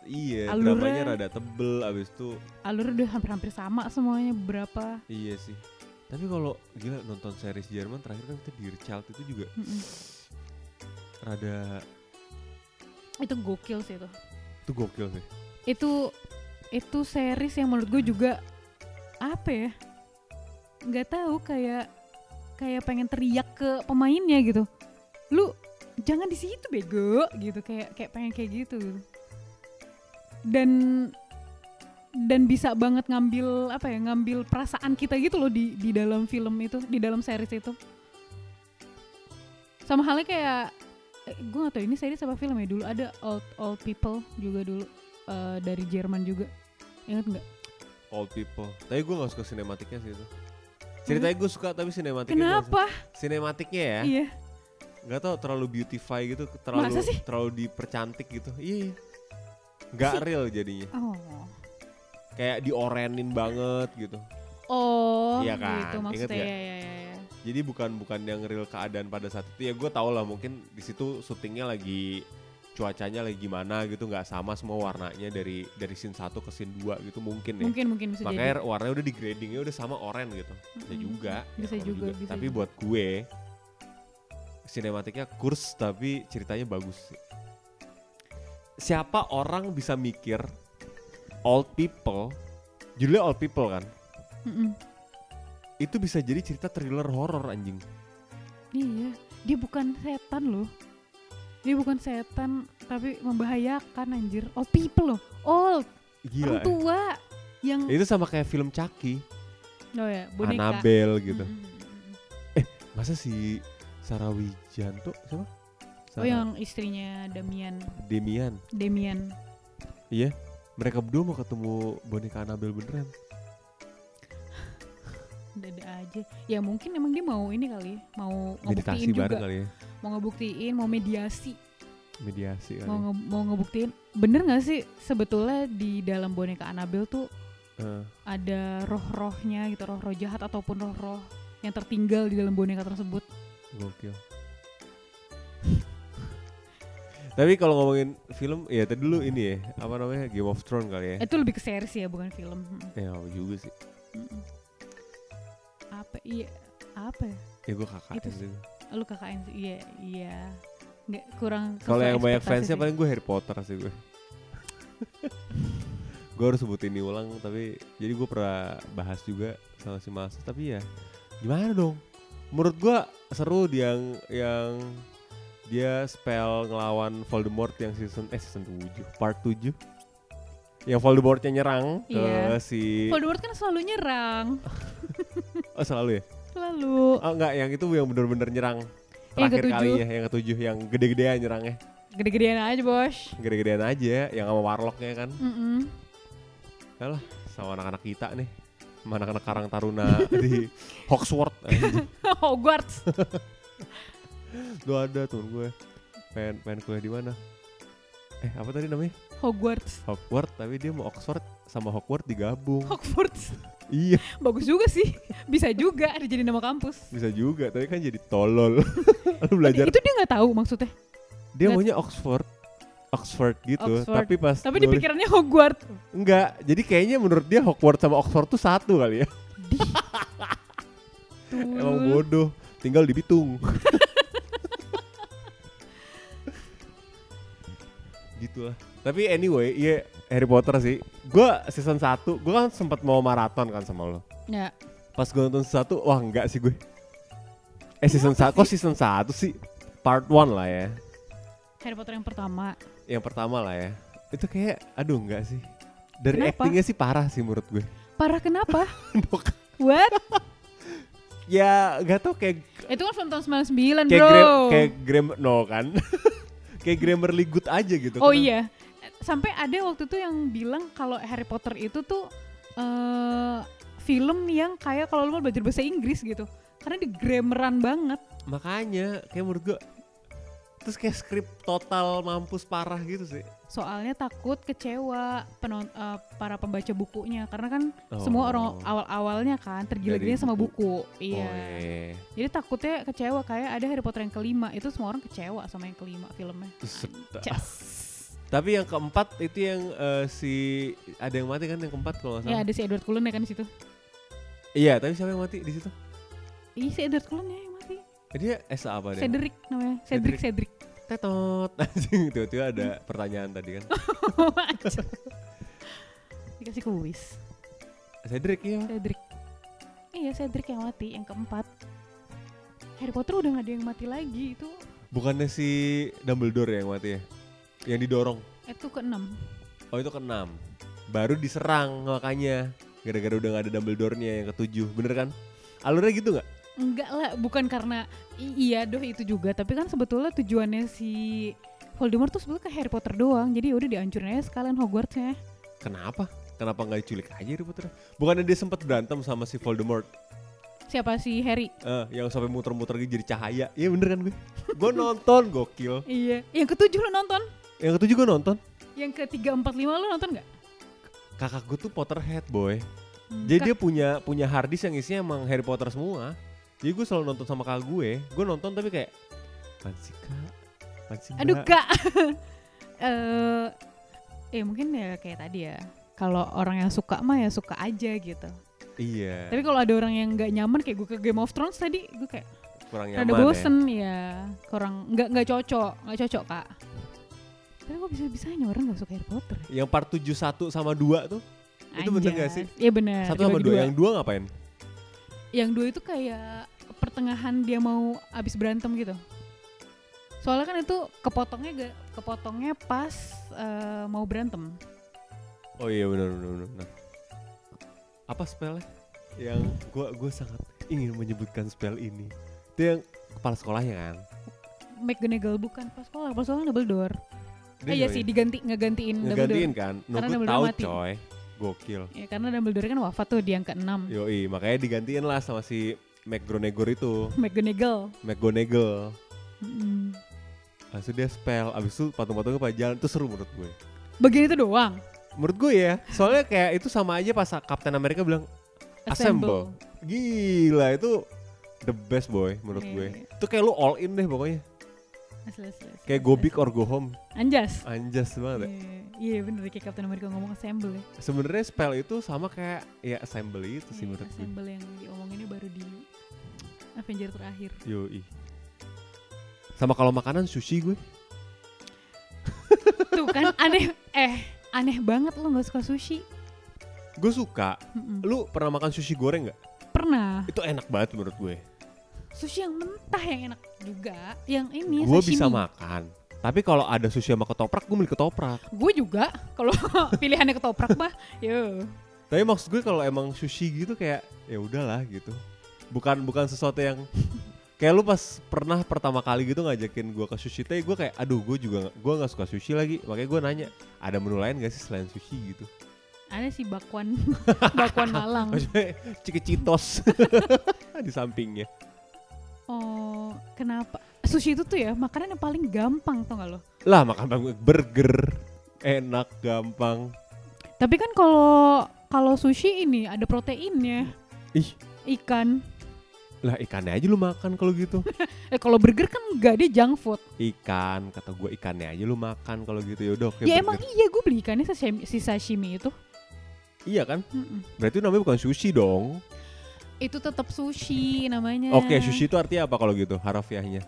[SPEAKER 2] iya
[SPEAKER 1] alurnya-
[SPEAKER 2] dramanya rada tebel abis itu
[SPEAKER 1] alur udah hampir-hampir sama semuanya berapa.
[SPEAKER 2] iya sih tapi kalau gila nonton series Jerman terakhir kan kita Dear Child itu juga
[SPEAKER 1] Mm-mm.
[SPEAKER 2] rada
[SPEAKER 1] Itu gokil sih itu.
[SPEAKER 2] itu gokil sih
[SPEAKER 1] Itu itu series yang menurut gue juga apa ya? Nggak tahu kayak kayak pengen teriak ke pemainnya gitu. Lu jangan di situ bego gitu kayak kayak pengen kayak gitu. gitu. Dan dan bisa banget ngambil apa ya ngambil perasaan kita gitu loh di di dalam film itu di dalam series itu sama halnya kayak eh, gue gak tau ini series apa film ya dulu ada old old people juga dulu eh, dari Jerman juga ingat nggak
[SPEAKER 2] Old People tapi gue gak suka sinematiknya sih itu ceritanya gue suka tapi sinematiknya gua gak suka.
[SPEAKER 1] kenapa
[SPEAKER 2] sinematiknya ya
[SPEAKER 1] iya
[SPEAKER 2] nggak tau terlalu beautify gitu terlalu
[SPEAKER 1] Masa sih?
[SPEAKER 2] terlalu dipercantik gitu iya iya. nggak real jadinya
[SPEAKER 1] oh
[SPEAKER 2] kayak diorenin banget gitu
[SPEAKER 1] oh
[SPEAKER 2] Iya kan,
[SPEAKER 1] gitu
[SPEAKER 2] ingat
[SPEAKER 1] maksudnya
[SPEAKER 2] nggak?
[SPEAKER 1] ya, ya, ya, ya.
[SPEAKER 2] Jadi bukan bukan yang real keadaan pada saat itu ya gue tau lah mungkin di situ syutingnya lagi cuacanya lagi gimana gitu nggak sama semua warnanya dari dari scene 1 ke scene 2 gitu mungkin ya.
[SPEAKER 1] mungkin mungkin bisa jadi
[SPEAKER 2] Makanya warnanya udah di gradingnya udah sama oren gitu. Bisa
[SPEAKER 1] Mm-mm.
[SPEAKER 2] juga. ya
[SPEAKER 1] Bisa
[SPEAKER 2] orang
[SPEAKER 1] juga, bisa
[SPEAKER 2] tapi
[SPEAKER 1] juga.
[SPEAKER 2] buat gue sinematiknya kurs tapi ceritanya bagus. sih. Siapa orang bisa mikir old people judulnya old people kan?
[SPEAKER 1] Mm-mm.
[SPEAKER 2] Itu bisa jadi cerita thriller horor anjing.
[SPEAKER 1] iya dia bukan setan loh dia bukan setan tapi membahayakan anjir old people loh old
[SPEAKER 2] Gila.
[SPEAKER 1] orang
[SPEAKER 2] ya.
[SPEAKER 1] tua yang
[SPEAKER 2] Ya, Itu sama kayak film Chucky,
[SPEAKER 1] oh ya boneka
[SPEAKER 2] Annabelle gitu.
[SPEAKER 1] Mm, mm, mm, mm.
[SPEAKER 2] Masa si Sarah Wijanto siapa?
[SPEAKER 1] oh yang istrinya Damian
[SPEAKER 2] Demian.
[SPEAKER 1] Damian
[SPEAKER 2] Iya. Mereka berdua mau ketemu boneka Annabelle beneran.
[SPEAKER 1] dada aja ya mungkin emang dia mau ini kali ya, mau
[SPEAKER 2] Meditasi
[SPEAKER 1] ngebuktiin
[SPEAKER 2] bareng
[SPEAKER 1] juga
[SPEAKER 2] kali ya.
[SPEAKER 1] mau ngebuktiin mau mediasi
[SPEAKER 2] Mediasi kali.
[SPEAKER 1] mau nge- mau ngebuktiin bener nggak sih sebetulnya di dalam boneka Annabelle tuh
[SPEAKER 2] Eh,
[SPEAKER 1] ada roh-rohnya gitu roh-roh jahat ataupun roh-roh yang tertinggal di dalam boneka tersebut
[SPEAKER 2] gokil. Tapi kalau ngomongin film, ya tadi dulu ini ya, apa namanya Game of Thrones kali ya.
[SPEAKER 1] itu lebih ke series ya bukan film Mm,
[SPEAKER 2] Ya apa juga sih.
[SPEAKER 1] mm. apa iya apa ya
[SPEAKER 2] Ya gue kakak
[SPEAKER 1] Itu
[SPEAKER 2] sih.
[SPEAKER 1] lu KKN sih iya iya nggak kurang
[SPEAKER 2] Kalau
[SPEAKER 1] sesuai
[SPEAKER 2] yang banyak
[SPEAKER 1] ekspektasi
[SPEAKER 2] fansnya
[SPEAKER 1] sih.
[SPEAKER 2] paling gue Harry Potter sih gue. gue harus sebutin ini ulang tapi jadi gue pernah bahas juga sama si Mas tapi ya gimana dong? Menurut gue seru di yang yang dia spell ngelawan Voldemort yang season eh season 7 part 7 yang Voldemortnya nyerang
[SPEAKER 1] Iya.
[SPEAKER 2] ke si
[SPEAKER 1] Voldemort kan selalu nyerang
[SPEAKER 2] oh selalu ya
[SPEAKER 1] selalu
[SPEAKER 2] oh enggak yang itu yang bener-bener nyerang
[SPEAKER 1] Yang
[SPEAKER 2] terakhir
[SPEAKER 1] ketujuh.
[SPEAKER 2] kalinya yang ketujuh yang gede-gedean nyerangnya
[SPEAKER 1] gede-gedean aja bos
[SPEAKER 2] gede-gedean aja yang sama warlocknya kan
[SPEAKER 1] Mm-mm.
[SPEAKER 2] Yalah, sama anak-anak kita nih. Sama anak-anak Karang Taruna di Hawksworth. anjing.
[SPEAKER 1] Hogwarts.
[SPEAKER 2] Lu ada temen gue. Pengen, pengen kuliah di mana? Eh, apa tadi namanya?
[SPEAKER 1] Hogwarts.
[SPEAKER 2] Hogwarts, tapi dia mau Oxford sama Hogwarts digabung.
[SPEAKER 1] Hogwarts.
[SPEAKER 2] Iya,
[SPEAKER 1] Bagus juga sih. Bisa juga ada jadi nama kampus.
[SPEAKER 2] bisa juga, tapi kan jadi tolol. Lu belajar.
[SPEAKER 1] Itu dia nggak tahu maksudnya.
[SPEAKER 2] Dia maunya Oxford. Oxford gitu,
[SPEAKER 1] Oxford.
[SPEAKER 2] tapi pas
[SPEAKER 1] Tapi di
[SPEAKER 2] nulis-
[SPEAKER 1] pikirannya Hogwarts.
[SPEAKER 2] enggak. Jadi kayaknya menurut dia Hogwarts sama Oxford tuh satu kali ya. Emang
[SPEAKER 1] Tulul.
[SPEAKER 2] bodoh, tinggal di Bitung. Gitulah. Tapi anyway, iya Harry Potter sih. Gua season 1, gua kan sempat mau maraton kan sama lo.
[SPEAKER 1] Ya.
[SPEAKER 2] Pas gua nonton season 1, wah enggak sih gue. Eh season
[SPEAKER 1] Kenapa
[SPEAKER 2] satu, kok season satu sih? Part 1 lah ya.
[SPEAKER 1] Harry Potter yang pertama.
[SPEAKER 2] Yang pertama lah ya. Itu kayak, aduh enggak sih. Dari
[SPEAKER 1] Kenapa?
[SPEAKER 2] actingnya sih parah sih menurut gue.
[SPEAKER 1] Parah kenapa?
[SPEAKER 2] Dok.
[SPEAKER 1] What?
[SPEAKER 2] ya gak tau kayak
[SPEAKER 1] Itu kan film tahun 99 bro.
[SPEAKER 2] kayak gra- kayak grammar no kan. kayak grammarly good aja gitu.
[SPEAKER 1] oh
[SPEAKER 2] Kenapa?
[SPEAKER 1] iya. Sampai ada waktu itu yang bilang kalau Harry Potter itu tuh eh film yang kayak kalau lu mau belajar bahasa Inggris gitu. Karena di grammaran banget.
[SPEAKER 2] Makanya kayak menurut gue terus kayak skrip total mampus parah gitu sih.
[SPEAKER 1] Soalnya takut kecewa penon- eh, para pembaca bukunya karena kan
[SPEAKER 2] Oh.
[SPEAKER 1] semua orang awal-awalnya kan tergila-gila
[SPEAKER 2] Dari
[SPEAKER 1] sama buku.
[SPEAKER 2] buku.
[SPEAKER 1] Iya.
[SPEAKER 2] Oh, iya.
[SPEAKER 1] Jadi takutnya kecewa kayak ada Harry Potter yang kelima itu semua orang kecewa sama yang kelima filmnya. Kan.
[SPEAKER 2] Terus sedap.
[SPEAKER 1] Anjas.
[SPEAKER 2] Tapi yang keempat itu yang eh, si ada yang mati kan yang keempat kalau nggak
[SPEAKER 1] Ya
[SPEAKER 2] salah.
[SPEAKER 1] ada si Edward Cullen ya kan di situ.
[SPEAKER 2] Iya, tapi siapa yang mati di situ?
[SPEAKER 1] Iya si Edward Cullen ya yang mati.
[SPEAKER 2] Eh, Dia Esa apa dia?
[SPEAKER 1] Cedric namanya. Cedric Cedric.
[SPEAKER 2] Tetot. Anjing tiba-tiba ada pertanyaan tadi kan.
[SPEAKER 1] Anjas. Dikasih kuis.
[SPEAKER 2] Cedric iya.
[SPEAKER 1] Cedric. Iya Cedric yang mati yang keempat. Harry Potter udah gak ada yang mati lagi itu.
[SPEAKER 2] Bukannya si Dumbledore yang mati ya? Yang didorong.
[SPEAKER 1] eh, Itu keenam.
[SPEAKER 2] Oh itu keenam. Baru diserang makanya. Gara-gara udah gak ada Dumbledore-nya yang ketujuh. Bener kan? Alurnya gitu nggak?
[SPEAKER 1] Enggak lah, bukan karena i- iya doh itu juga, tapi kan sebetulnya tujuannya si Voldemort tuh sebetulnya ke Harry Potter doang. Jadi ya udah dihancurin aja sekalian Hogwartsnya.
[SPEAKER 2] Kenapa? Kenapa nggak diculik aja Harry Potter? Bukannya dia sempat berantem sama si Voldemort
[SPEAKER 1] Siapa si Harry?
[SPEAKER 2] eh, yang sampai muter-muter gitu jadi cahaya. Iya bener kan gue? gue nonton gokil.
[SPEAKER 1] Iya. Yang ketujuh lo nonton?
[SPEAKER 2] Yang ketujuh gue nonton.
[SPEAKER 1] Yang ketiga, empat, lima lo nonton nggak?
[SPEAKER 2] Kakak gue tuh Potterhead boy.
[SPEAKER 1] Hmm,
[SPEAKER 2] Jadi
[SPEAKER 1] Kak,
[SPEAKER 2] dia punya punya harddisk yang isinya emang Harry Potter semua. Jadi gue selalu nonton sama kakak gue. Gue nonton tapi kayak "Apaan sih kak, Apaan sih,
[SPEAKER 1] aduh
[SPEAKER 2] Mbak?"
[SPEAKER 1] kak. eh eh mungkin ya kayak tadi ya. Kalau orang yang suka mah ya suka aja gitu.
[SPEAKER 2] Iya.
[SPEAKER 1] Tapi kalau ada orang yang nggak nyaman kayak gue ke Game of Thrones tadi, gue kayak
[SPEAKER 2] kurang nyaman.
[SPEAKER 1] Rada
[SPEAKER 2] ya.
[SPEAKER 1] bosen ya, kurang nggak nggak cocok, nggak cocok kak. Tapi kok bisa bisanya orang nggak suka Harry Potter? ya?
[SPEAKER 2] Yang part 71 sama 2 tuh. Itu bener nggak
[SPEAKER 1] Anjas.
[SPEAKER 2] sih?
[SPEAKER 1] Iya bener.
[SPEAKER 2] Satu sama
[SPEAKER 1] dibagi
[SPEAKER 2] dua. Yang dua ngapain?
[SPEAKER 1] yang dua itu kayak pertengahan dia mau abis berantem gitu. Soalnya kan itu kepotongnya ga- kepotongnya pas eh, mau berantem.
[SPEAKER 2] Oh iya benar benar benar. Nah. Apa spellnya? Yang gue gue sangat ingin menyebutkan spell ini. Itu yang kepala sekolahnya kan.
[SPEAKER 1] McGonagall bukan pas sekolah, pas sekolah kan Dumbledore.
[SPEAKER 2] Dia
[SPEAKER 1] Eh, iya
[SPEAKER 2] nyobain.
[SPEAKER 1] sih diganti ngegantiin
[SPEAKER 2] ngegantiin
[SPEAKER 1] Dumbledore.
[SPEAKER 2] kan.
[SPEAKER 1] Karena
[SPEAKER 2] Nunggu
[SPEAKER 1] Dumbledore
[SPEAKER 2] tahu
[SPEAKER 1] mati.
[SPEAKER 2] coy. Gokil.
[SPEAKER 1] Ya, karena Dumbledore kan wafat tuh di yang ke-6.
[SPEAKER 2] Yoi, makanya digantiin lah sama si McGonagall itu.
[SPEAKER 1] McGonagall.
[SPEAKER 2] McGonagall.
[SPEAKER 1] Mm.
[SPEAKER 2] Habis itu dia spell, abis itu patung-patungnya pada jalan. Itu seru menurut gue.
[SPEAKER 1] Bagian itu doang.
[SPEAKER 2] Menurut gue ya, soalnya kayak itu sama aja pas Captain America bilang assemble. Gila, itu the best boy menurut
[SPEAKER 1] Iya,
[SPEAKER 2] gue.
[SPEAKER 1] iya.
[SPEAKER 2] Itu kayak lu all in deh pokoknya.
[SPEAKER 1] Asli, asli, asli,
[SPEAKER 2] Kayak
[SPEAKER 1] asli,
[SPEAKER 2] go big or go home.
[SPEAKER 1] asli. Anjas.
[SPEAKER 2] Anjas banget. ya.
[SPEAKER 1] Iya, Iya bener kayak Captain America ngomong assemble ya.
[SPEAKER 2] Sebenarnya spell itu sama kayak ya assemble itu sih
[SPEAKER 1] Iya,
[SPEAKER 2] menurut gue.
[SPEAKER 1] assemble yang diomonginnya baru di Avenger terakhir.
[SPEAKER 2] Yoi. Sama kalau makanan sushi gue.
[SPEAKER 1] Tuh kan aneh eh aneh banget lo nggak suka sushi.
[SPEAKER 2] Gue suka.
[SPEAKER 1] Mm-mm.
[SPEAKER 2] Lu pernah makan sushi goreng nggak?
[SPEAKER 1] Pernah.
[SPEAKER 2] Itu enak banget menurut gue.
[SPEAKER 1] Sushi yang mentah yang enak juga. Yang ini
[SPEAKER 2] gue
[SPEAKER 1] Iya, sashimi.
[SPEAKER 2] bisa makan. Tapi kalau ada sushi sama ketoprak, gue milih ketoprak.
[SPEAKER 1] Gue juga kalau pilihannya ketoprak bah. Yo.
[SPEAKER 2] Tapi maksud gue kalau emang sushi gitu kayak ya udahlah gitu. Bukan bukan sesuatu yang kayak lu pas pernah pertama kali gitu ngajakin gua ke sushi teh gue kayak aduh gue juga nggak- gua nggak suka sushi lagi makanya gue nanya ada menu lain gak sih selain sushi gitu
[SPEAKER 1] Ada sih bakwan bakwan Malang.
[SPEAKER 2] maksudnya cikecitos di sampingnya
[SPEAKER 1] Oh, kenapa? Sushi itu tuh ya makanan yang paling gampang tau gak lo?
[SPEAKER 2] lah makan bang- burger enak gampang
[SPEAKER 1] Tapi kan kalau kalau sushi ini ada proteinnya,
[SPEAKER 2] ih
[SPEAKER 1] ikan.
[SPEAKER 2] lah ikannya aja lu makan kalau gitu
[SPEAKER 1] Eh kalau burger kan enggak dia junk food.
[SPEAKER 2] ikan kata gue ikannya aja lu makan kalau gitu yaudah oke
[SPEAKER 1] ya
[SPEAKER 2] burger.
[SPEAKER 1] emang iya gue beli ikannya sashimi, si sashimi itu.
[SPEAKER 2] iya kan
[SPEAKER 1] Mm-mm.
[SPEAKER 2] berarti namanya bukan sushi dong
[SPEAKER 1] Itu tetap sushi namanya.
[SPEAKER 2] oke
[SPEAKER 1] Oh,
[SPEAKER 2] sushi itu artinya apa kalau gitu harafiahnya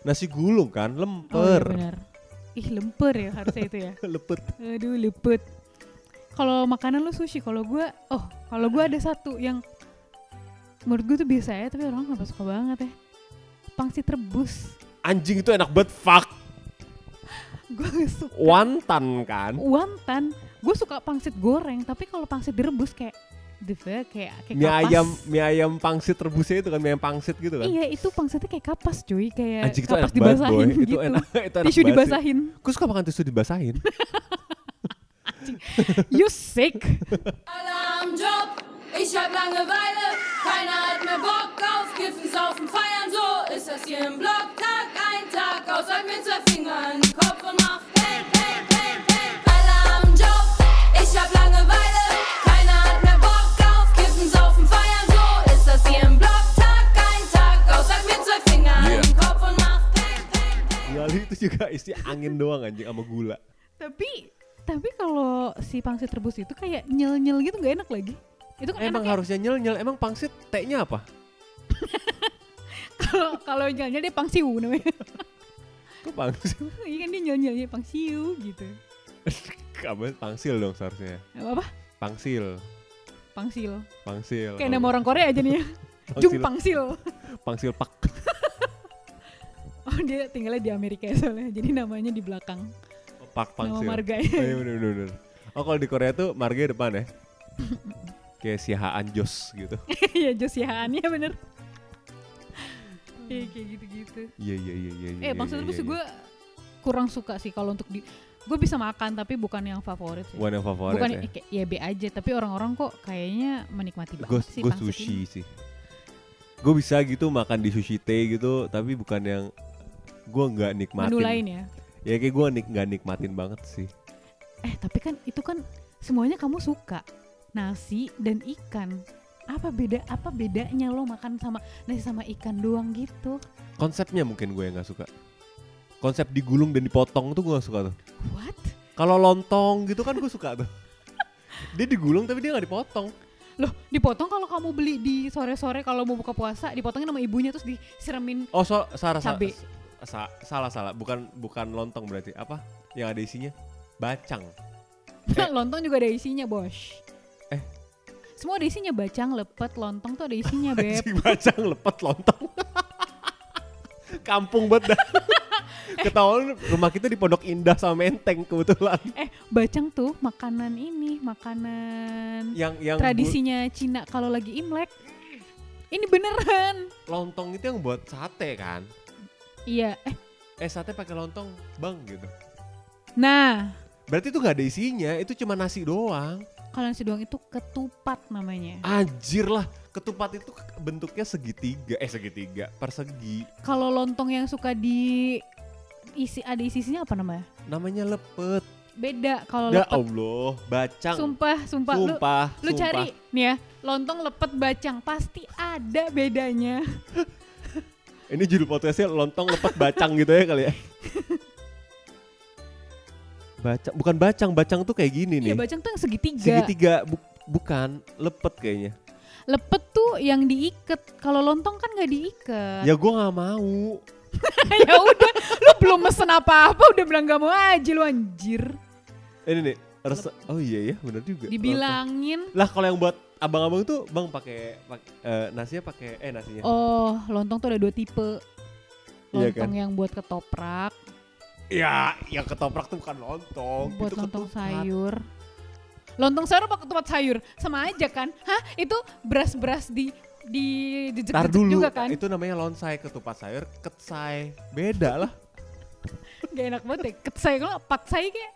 [SPEAKER 2] nasi gulung
[SPEAKER 1] Oh,
[SPEAKER 2] kan
[SPEAKER 1] iya
[SPEAKER 2] lemper
[SPEAKER 1] benar. Ih lemper ya harusnya itu ya.
[SPEAKER 2] lepet
[SPEAKER 1] Aduh lepet. Kalau makanan lu sushi, kalau gue, oh kalau gue ada satu yang menurut gue tuh biasa aja tapi orang kenapa suka banget ya pangsit rebus
[SPEAKER 2] Anjing itu enak banget, fuck.
[SPEAKER 1] gue suka
[SPEAKER 2] Wantan kan?
[SPEAKER 1] wonton gue suka pangsit goreng tapi kalau pangsit direbus kayak the fuck kayak kayak
[SPEAKER 2] Mie
[SPEAKER 1] Oh, iya, kapas.
[SPEAKER 2] ayam, mie ayam pangsit rebusnya itu kan, mie ayam pangsit gitu kan?
[SPEAKER 1] iya itu pangsitnya kayak kapas cuy kayak
[SPEAKER 2] Anjing itu
[SPEAKER 1] kapas
[SPEAKER 2] enak banget boy,
[SPEAKER 1] dibasahin gitu
[SPEAKER 2] itu enak, itu enak
[SPEAKER 1] tisu
[SPEAKER 2] banget sih.
[SPEAKER 1] dibasahin
[SPEAKER 2] Gue suka makan tisu dibasahin.
[SPEAKER 1] you sick
[SPEAKER 3] Alle am Job, ich hab Langeweile, keiner hat mehr Bock auf Kiffen, Saufen, Feiern, so ist das hier im Block. Tag ein, Tag aus, sag mir zwei Fingern, Kopf und mach Peng, Peng, Peng, Peng. Alle am Job, ich hab Langeweile, keiner hat mehr Bock auf Kiffen, Saufen, Feiern, so ist das hier im Block. Tag ein, Tag aus, sag mir zwei Fingern,
[SPEAKER 2] Yeah.
[SPEAKER 3] Kopf und mach Peng, Peng, Peng.
[SPEAKER 2] Iya, Lalu itu juga isi angin doang anjing sama gula.
[SPEAKER 1] tapi tapi kalau si pangsit rebus itu kayak nyel nyel gitu nggak enak lagi itu kan
[SPEAKER 2] Eh, Emang
[SPEAKER 1] enaknya
[SPEAKER 2] harusnya nyel nyel. Emang pangsit T-nya apa?
[SPEAKER 1] kalau kalau nyel nyel dia pangsiu namanya
[SPEAKER 2] Kok pangsit?
[SPEAKER 1] iya kan dia nyel nyelnya pangsiu gitu
[SPEAKER 2] Kamu pangsil dong seharusnya.
[SPEAKER 1] apa apa
[SPEAKER 2] Pangsil,
[SPEAKER 1] pangsil
[SPEAKER 2] pangsil.
[SPEAKER 1] kayak nama orang Korea aja nih ya
[SPEAKER 2] Pangsil-
[SPEAKER 1] Jung Pangsil
[SPEAKER 2] Pangsil pak.
[SPEAKER 1] oh dia tinggalnya di Amerika ya soalnya jadi namanya di belakang
[SPEAKER 2] Oh, Pak pangsil.
[SPEAKER 1] marganya.
[SPEAKER 2] Oh, iya bener bener. bener. Oh kalau di Korea tuh marga depan ya. kayak si Haan Jos gitu.
[SPEAKER 1] ya Josiaan ya bener iya kayak gitu-gitu
[SPEAKER 2] Iya iya iya iya. iya,
[SPEAKER 1] eh pangsit
[SPEAKER 2] iya,
[SPEAKER 1] rebus
[SPEAKER 2] iya,
[SPEAKER 1] gue kurang suka sih kalau untuk di gue bisa makan tapi bukan yang favorit
[SPEAKER 2] iya.
[SPEAKER 1] sih
[SPEAKER 2] One yang favorit
[SPEAKER 1] bukan
[SPEAKER 2] ya.
[SPEAKER 1] ya. kayak ya be aja tapi orang-orang kok kayaknya menikmati banget
[SPEAKER 2] Gue
[SPEAKER 1] sih
[SPEAKER 2] gue
[SPEAKER 1] pangsit
[SPEAKER 2] sushi
[SPEAKER 1] ini.
[SPEAKER 2] sih. Gue bisa gitu makan di sushi teh gitu, tapi bukan yang gue nggak nikmatin.
[SPEAKER 1] menu lain ya
[SPEAKER 2] Ya kayak gue nik nggak nikmatin banget sih.
[SPEAKER 1] eh tapi kan itu kan semuanya kamu suka nasi dan ikan apa beda apa bedanya lo makan sama nasi sama ikan doang gitu
[SPEAKER 2] Konsepnya mungkin gue yang nggak suka. Konsep digulung dan dipotong tuh gue nggak suka tuh.
[SPEAKER 1] what
[SPEAKER 2] Kalau lontong gitu kan gue suka tuh. Dia digulung tapi dia nggak dipotong.
[SPEAKER 1] loh dipotong kalau kamu beli di sore-sore kalau mau buka puasa dipotongin sama ibunya terus disiramin
[SPEAKER 2] Oh, so, salah, salah,
[SPEAKER 1] Cabe.
[SPEAKER 2] sa- salah, salah. Bukan bukan lontong berarti. Apa? Yang ada isinya? Bacang. Eh.
[SPEAKER 1] lontong juga ada isinya bos
[SPEAKER 2] Eh.
[SPEAKER 1] semua ada isinya bacang lepet lontong tuh ada isinya beb
[SPEAKER 2] Anjing, bacang lepet lontong. Kampung banget dah. Ketahuan rumah kita di Pondok Indah sama Menteng kebetulan.
[SPEAKER 1] eh bacang tuh makanan ini makanan
[SPEAKER 2] Yang yang bu-
[SPEAKER 1] tradisinya Cina kalau lagi Imlek. Ini beneran.
[SPEAKER 2] lontong itu yang buat sate kan.
[SPEAKER 1] Iya. Eh,
[SPEAKER 2] Eh sate pakai lontong, Bang gitu.
[SPEAKER 1] nah,
[SPEAKER 2] Berarti itu nggak ada isinya, itu cuma nasi doang.
[SPEAKER 1] kalau nasi doang itu ketupat namanya.
[SPEAKER 2] Anjir lah, ketupat itu k- bentuknya segitiga, eh segitiga, persegi.
[SPEAKER 1] Kalau lontong yang suka di isi ada isi isinya apa namanya?
[SPEAKER 2] Namanya lepet.
[SPEAKER 1] Beda kalau
[SPEAKER 2] Ya
[SPEAKER 1] lepet.
[SPEAKER 2] Allah, bacang.
[SPEAKER 1] Oh, Sumpah, sumpah, lu
[SPEAKER 2] sumpah,
[SPEAKER 1] lu
[SPEAKER 2] sumpah.
[SPEAKER 1] cari nih ya, lontong lepet bacang pasti ada bedanya.
[SPEAKER 2] Ini judul podcastnya lontong lepet bacang gitu ya kali ya. Bacang, bukan bacang, bacang tuh kayak gini
[SPEAKER 1] Iya,
[SPEAKER 2] nih.
[SPEAKER 1] bacang tuh yang segitiga.
[SPEAKER 2] Segitiga, bu- bukan lepet kayaknya.
[SPEAKER 1] Lepet tuh yang diikat. Kalau lontong kan nggak diikat.
[SPEAKER 2] Ya gua nggak mau.
[SPEAKER 1] ya udah, lu belum mesen apa-apa udah bilang gak mau aja lu anjir.
[SPEAKER 2] Ini nih, rese- oh iya ya, bener juga. lontong.
[SPEAKER 1] dibilangin
[SPEAKER 2] Lah kalau yang buat abang-abang tuh bang pakai pak- eh, nasinya pakai eh nasinya.
[SPEAKER 1] oh lontong tuh ada dua tipe
[SPEAKER 2] Iya
[SPEAKER 1] lontong yang buat ketoprak
[SPEAKER 2] Ya, yang ketoprak tuh bukan lontong.
[SPEAKER 1] buat
[SPEAKER 2] Oh, itu
[SPEAKER 1] lontong
[SPEAKER 2] ketupat.
[SPEAKER 1] sayur lontong sayur apa ketupat sayur sama aja kan hah itu beras beras di di jejek
[SPEAKER 2] Tar dulu,
[SPEAKER 1] juga kan
[SPEAKER 2] itu namanya lonsai, ketupat sayur, ketsai. Beda lah.
[SPEAKER 1] gak enak banget ya ketsai kalau patsai kayak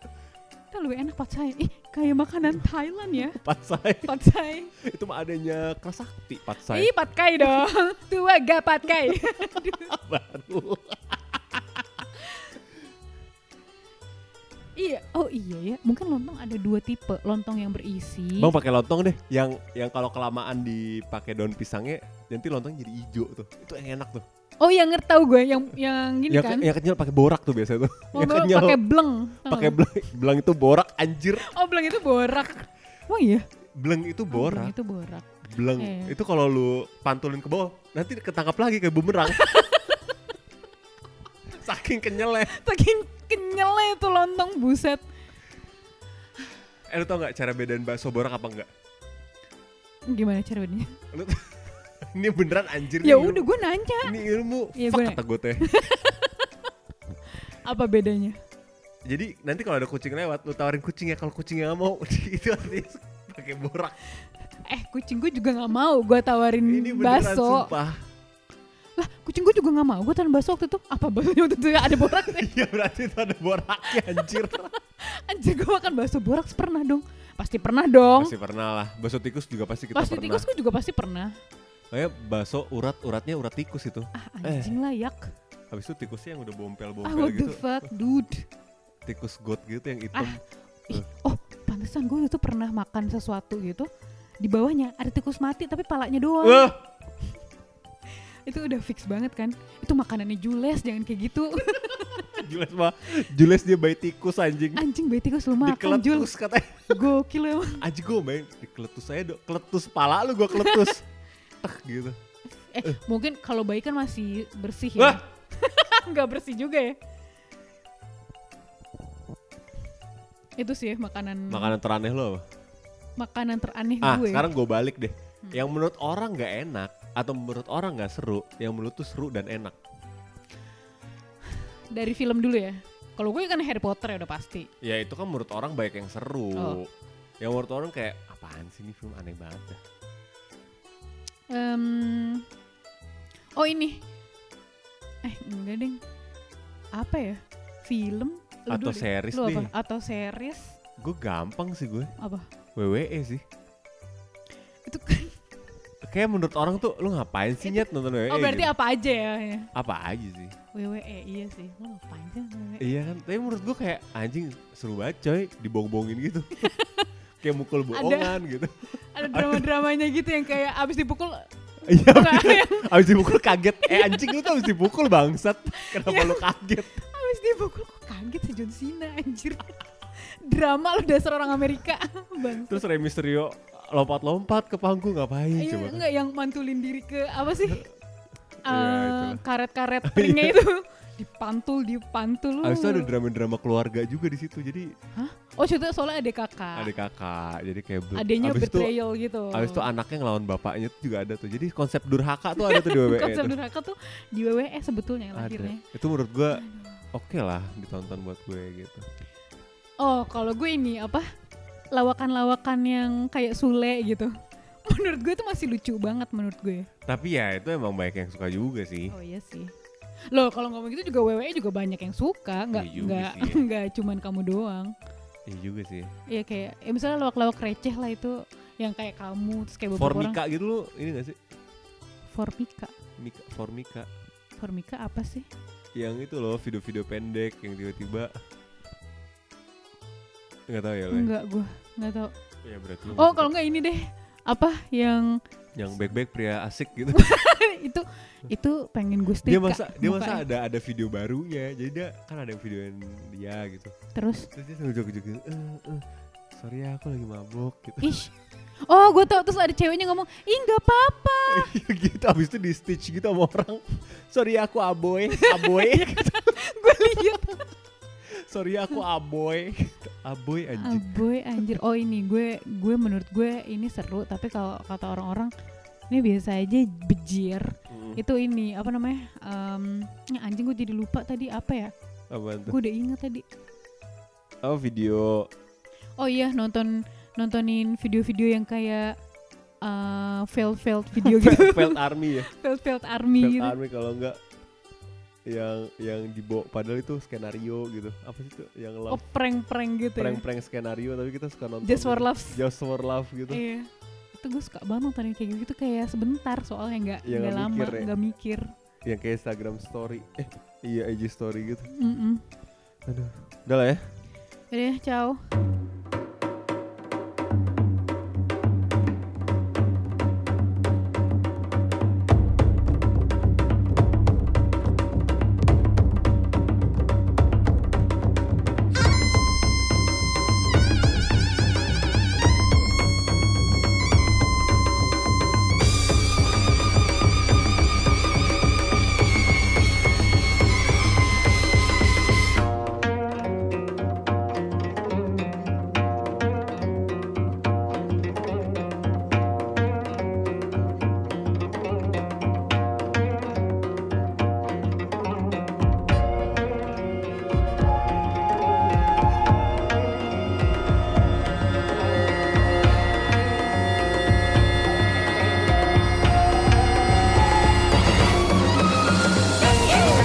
[SPEAKER 1] itu lebih enak patsai ih kayak makanan Thailand ya
[SPEAKER 2] Patsai.
[SPEAKER 1] patsai
[SPEAKER 2] itu mah adanya kelas sakti patsai.
[SPEAKER 1] ih patkai dong tua gak patkai
[SPEAKER 2] Baru.
[SPEAKER 1] iya oh iya ya mungkin lontong ada dua tipe lontong yang berisi
[SPEAKER 2] Bang pakai lontong deh. Yang yang kalau kelamaan dipakai daun pisangnya nanti lontong jadi hijau tuh. Itu enak tuh.
[SPEAKER 1] Oh yang ngerti tahu gue yang yang gini
[SPEAKER 2] yang,
[SPEAKER 1] kan.
[SPEAKER 2] ke- yang kenyal pakai borak tuh biasanya tuh.
[SPEAKER 1] Oh,
[SPEAKER 2] yang
[SPEAKER 1] gue
[SPEAKER 2] kenyal
[SPEAKER 1] pakai bleng. Tau
[SPEAKER 2] pakai
[SPEAKER 1] gak?
[SPEAKER 2] belang, belang itu borak anjir.
[SPEAKER 1] Oh, bleng itu borak. Wah iya.
[SPEAKER 2] Beleng itu
[SPEAKER 1] Oh, bleng
[SPEAKER 2] borak.
[SPEAKER 1] itu borak.
[SPEAKER 2] Beleng.
[SPEAKER 1] Iya.
[SPEAKER 2] Itu kalau lu pantulin ke bawah nanti ketangkap lagi kayak bumerang. Saking kenyalnya.
[SPEAKER 1] Saking kenyalnya itu lontong buset.
[SPEAKER 2] Eh lu tau gak cara bedain bakso borak apa enggak?
[SPEAKER 1] Gimana caranya?
[SPEAKER 2] Lu ini beneran anjir
[SPEAKER 1] ya
[SPEAKER 2] ini
[SPEAKER 1] udah
[SPEAKER 2] ilmu.
[SPEAKER 1] gue nanya
[SPEAKER 2] ini ilmu
[SPEAKER 1] Iya,
[SPEAKER 2] fuck
[SPEAKER 1] gua-
[SPEAKER 2] kata gue teh
[SPEAKER 1] apa bedanya
[SPEAKER 2] jadi nanti kalau ada kucing lewat lu tawarin kucingnya kalau kucingnya nggak mau itu artinya pakai borak
[SPEAKER 1] eh kucing gue juga nggak mau gue tawarin
[SPEAKER 2] ini beneran
[SPEAKER 1] Hmm, bakso
[SPEAKER 2] sumpah
[SPEAKER 1] lah kucing gue juga nggak mau gue tawarin bakso waktu itu apa baksonya waktu itu ya ada borak
[SPEAKER 2] iya berarti itu ada boraknya anjir
[SPEAKER 1] anjir gue makan bakso borak pernah dong pasti pernah dong
[SPEAKER 2] pasti pernah lah bakso tikus juga pasti kita
[SPEAKER 1] pasti
[SPEAKER 2] pernah
[SPEAKER 1] tikus gue juga pasti pernah
[SPEAKER 2] kayak bakso urat uratnya urat tikus itu
[SPEAKER 1] ah anjing layak
[SPEAKER 2] habis itu tikusnya yang udah bompel
[SPEAKER 1] ah what
[SPEAKER 2] bompel
[SPEAKER 1] the
[SPEAKER 2] Eh. gitu
[SPEAKER 1] fuck dude
[SPEAKER 2] tikus got gitu yang hitam
[SPEAKER 1] Ah. Ih, oh pantesan gue itu pernah makan sesuatu gitu di bawahnya ada tikus mati tapi palanya doang
[SPEAKER 2] Wah,
[SPEAKER 1] itu udah fix banget kan itu makanannya jules jangan kayak gitu
[SPEAKER 2] Jules mah Jules dia bayi tikus anjing
[SPEAKER 1] anjing bayi tikus lu Ah, makan
[SPEAKER 2] dikeletus
[SPEAKER 1] jules
[SPEAKER 2] katanya
[SPEAKER 1] gokil emang
[SPEAKER 2] anjing gue main dikeletus saya dok keletus pala lu gue keletus Tek gitu
[SPEAKER 1] eh mungkin kalau bayi kan masih bersih ya
[SPEAKER 2] wah
[SPEAKER 1] nggak bersih juga ya itu sih makanan
[SPEAKER 2] makanan teraneh lo apa
[SPEAKER 1] makanan teraneh
[SPEAKER 2] ah
[SPEAKER 1] gue Hmm.
[SPEAKER 2] sekarang gue balik deh yang menurut orang nggak enak atau menurut orang nggak seru yang menurut tuh seru dan enak
[SPEAKER 1] dari film dulu ya kalau gue kan Harry Potter ya udah pasti
[SPEAKER 2] ya itu kan menurut orang banyak yang seru
[SPEAKER 1] Oh.
[SPEAKER 2] yang menurut orang kayak apaan sih ini film aneh banget ya?" dah
[SPEAKER 1] Em, oh ini. Eh enggak deng. Apa ya? Film? Lu dulu
[SPEAKER 2] Atau
[SPEAKER 1] deh.
[SPEAKER 2] series
[SPEAKER 1] Lu apa?
[SPEAKER 2] nih.
[SPEAKER 1] Atau series?
[SPEAKER 2] gue gampang sih gue
[SPEAKER 1] Apa?
[SPEAKER 2] WWE sih
[SPEAKER 1] Itu kan.
[SPEAKER 2] kayak menurut orang tuh lu ngapain sih nyet nonton WWE
[SPEAKER 1] Oh berarti
[SPEAKER 2] gitu.
[SPEAKER 1] apa aja ya? ya.
[SPEAKER 2] apa aja sih
[SPEAKER 1] WWE iya sih. Lu ngapain sih E? WWE?
[SPEAKER 2] Iya kan, tapi menurut gue kayak anjing seru banget coy, dibong-bongin gitu. kayak mukul bohongan gitu.
[SPEAKER 1] Ada drama-dramanya gitu yang kayak abis dipukul
[SPEAKER 2] Iya,
[SPEAKER 1] Bukan,
[SPEAKER 2] bener.
[SPEAKER 1] yang-
[SPEAKER 2] abis dipukul kaget. Eh anjing lu tuh abis dipukul bangsat. Kenapa
[SPEAKER 1] Iya.
[SPEAKER 2] lu kaget?
[SPEAKER 1] abis dipukul kok kaget sih John Cena anjir. Drama lu dasar orang Amerika bang.
[SPEAKER 2] Terus Rey Mysterio lompat-lompat ke panggung ngapain
[SPEAKER 1] Iya,
[SPEAKER 2] coba?
[SPEAKER 1] enggak yang mantulin diri ke apa sih?
[SPEAKER 2] Iya,
[SPEAKER 1] Eh,
[SPEAKER 2] itulah.
[SPEAKER 1] karet-karet ringnya itu dipantul dipantul lu.
[SPEAKER 2] Abis itu ada drama-drama keluarga juga di situ. Jadi
[SPEAKER 1] Hah? Oh, cerita soalnya ada kakak.
[SPEAKER 2] ada kakak, jadi kayak ber-
[SPEAKER 1] Adanya
[SPEAKER 2] abis itu
[SPEAKER 1] betrayal gitu.
[SPEAKER 2] abis itu anaknya ngelawan bapaknya tuh juga ada tuh. Jadi konsep durhaka tuh ada tuh di WWE.
[SPEAKER 1] konsep
[SPEAKER 2] tuh.
[SPEAKER 1] durhaka tuh di WWE sebetulnya
[SPEAKER 2] E.
[SPEAKER 1] ya.
[SPEAKER 2] Ada.
[SPEAKER 1] lahirnya.
[SPEAKER 2] Itu menurut gue oke lah ditonton buat gue gitu.
[SPEAKER 1] Oh, kalau gue ini apa? Lawakan-lawakan yang kayak Sule gitu. Menurut gue itu masih lucu banget menurut gue.
[SPEAKER 2] Tapi ya itu emang banyak yang suka juga sih.
[SPEAKER 1] Oh iya sih. Loh, kalau ngomong gitu juga WWE juga banyak yang suka, nggak
[SPEAKER 2] Iya juga
[SPEAKER 1] nggak
[SPEAKER 2] sih.
[SPEAKER 1] nggak cuman kamu doang.
[SPEAKER 2] Iya juga sih.
[SPEAKER 1] Iya kayak ya misalnya lawak-lawak receh lah itu yang kayak kamu terus kayak beberapa orang
[SPEAKER 2] Formika gitu lu ini gak sih?
[SPEAKER 1] Formika.
[SPEAKER 2] Mika, Formika.
[SPEAKER 1] Formika apa sih?
[SPEAKER 2] Yang itu loh video-video pendek yang tiba-tiba Enggak tahu ya lo.
[SPEAKER 1] Enggak gua, enggak tahu.
[SPEAKER 2] Ya berarti lu
[SPEAKER 1] Oh,
[SPEAKER 2] nggak
[SPEAKER 1] kalau enggak ini deh. Apa yang
[SPEAKER 2] suka. yang baik-baik pria asik gitu.
[SPEAKER 1] itu itu pengen gue setrika.
[SPEAKER 2] dia masa dia masa
[SPEAKER 1] mukanya.
[SPEAKER 2] ada ada video barunya. Jadi dia kan ada yang videoin dia gitu.
[SPEAKER 1] terus
[SPEAKER 2] Terus dia sambil joget-joget gitu. "Eh, eh, sorry ya aku lagi mabok gitu.
[SPEAKER 1] ish. Oh, gue tau terus ada ceweknya ngomong, "Ih, enggak apa-apa."
[SPEAKER 2] gitu abis itu di stitch gitu sama orang. Sorry ya, aku aboy, aboy.
[SPEAKER 1] gue lihat.
[SPEAKER 2] sorry ya, aku aboy. aboy anjing.
[SPEAKER 1] Aboy anjir. Oh, ini gue gue menurut gue ini seru, tapi kalau kata orang-orang ini biasa aja bejir.
[SPEAKER 2] Mm.
[SPEAKER 1] Itu ini apa namanya? Em, ya anjing gue jadi lupa tadi apa ya?
[SPEAKER 2] Apaan tuh?
[SPEAKER 1] Gue udah inget tadi.
[SPEAKER 2] Oh video
[SPEAKER 1] Oh iya nonton nontonin video-video yang kayak fail failed video gitu,
[SPEAKER 2] Failed Army ya
[SPEAKER 1] failed failed army
[SPEAKER 2] Failed
[SPEAKER 1] gitu.
[SPEAKER 2] Army kalau enggak yang yang dibawa padahal itu skenario gitu apa sih itu yang
[SPEAKER 1] Oh
[SPEAKER 2] love
[SPEAKER 1] prank-prank gitu. ya.
[SPEAKER 2] prank-prank skenario tapi kita suka nonton
[SPEAKER 1] Just for
[SPEAKER 2] gitu.
[SPEAKER 1] laughs.
[SPEAKER 2] just for love gitu
[SPEAKER 1] Iya. Itu gue suka banget nonton yang kayak gitu kayak sebentar soalnya nggak
[SPEAKER 2] Iya,
[SPEAKER 1] nggak
[SPEAKER 2] nggak
[SPEAKER 1] lama
[SPEAKER 2] mikir ya.
[SPEAKER 1] nggak mikir.
[SPEAKER 2] yang kayak Instagram story eh iya IG story gitu
[SPEAKER 1] Mm
[SPEAKER 2] aduh udah lah ya
[SPEAKER 1] Jadi ciao.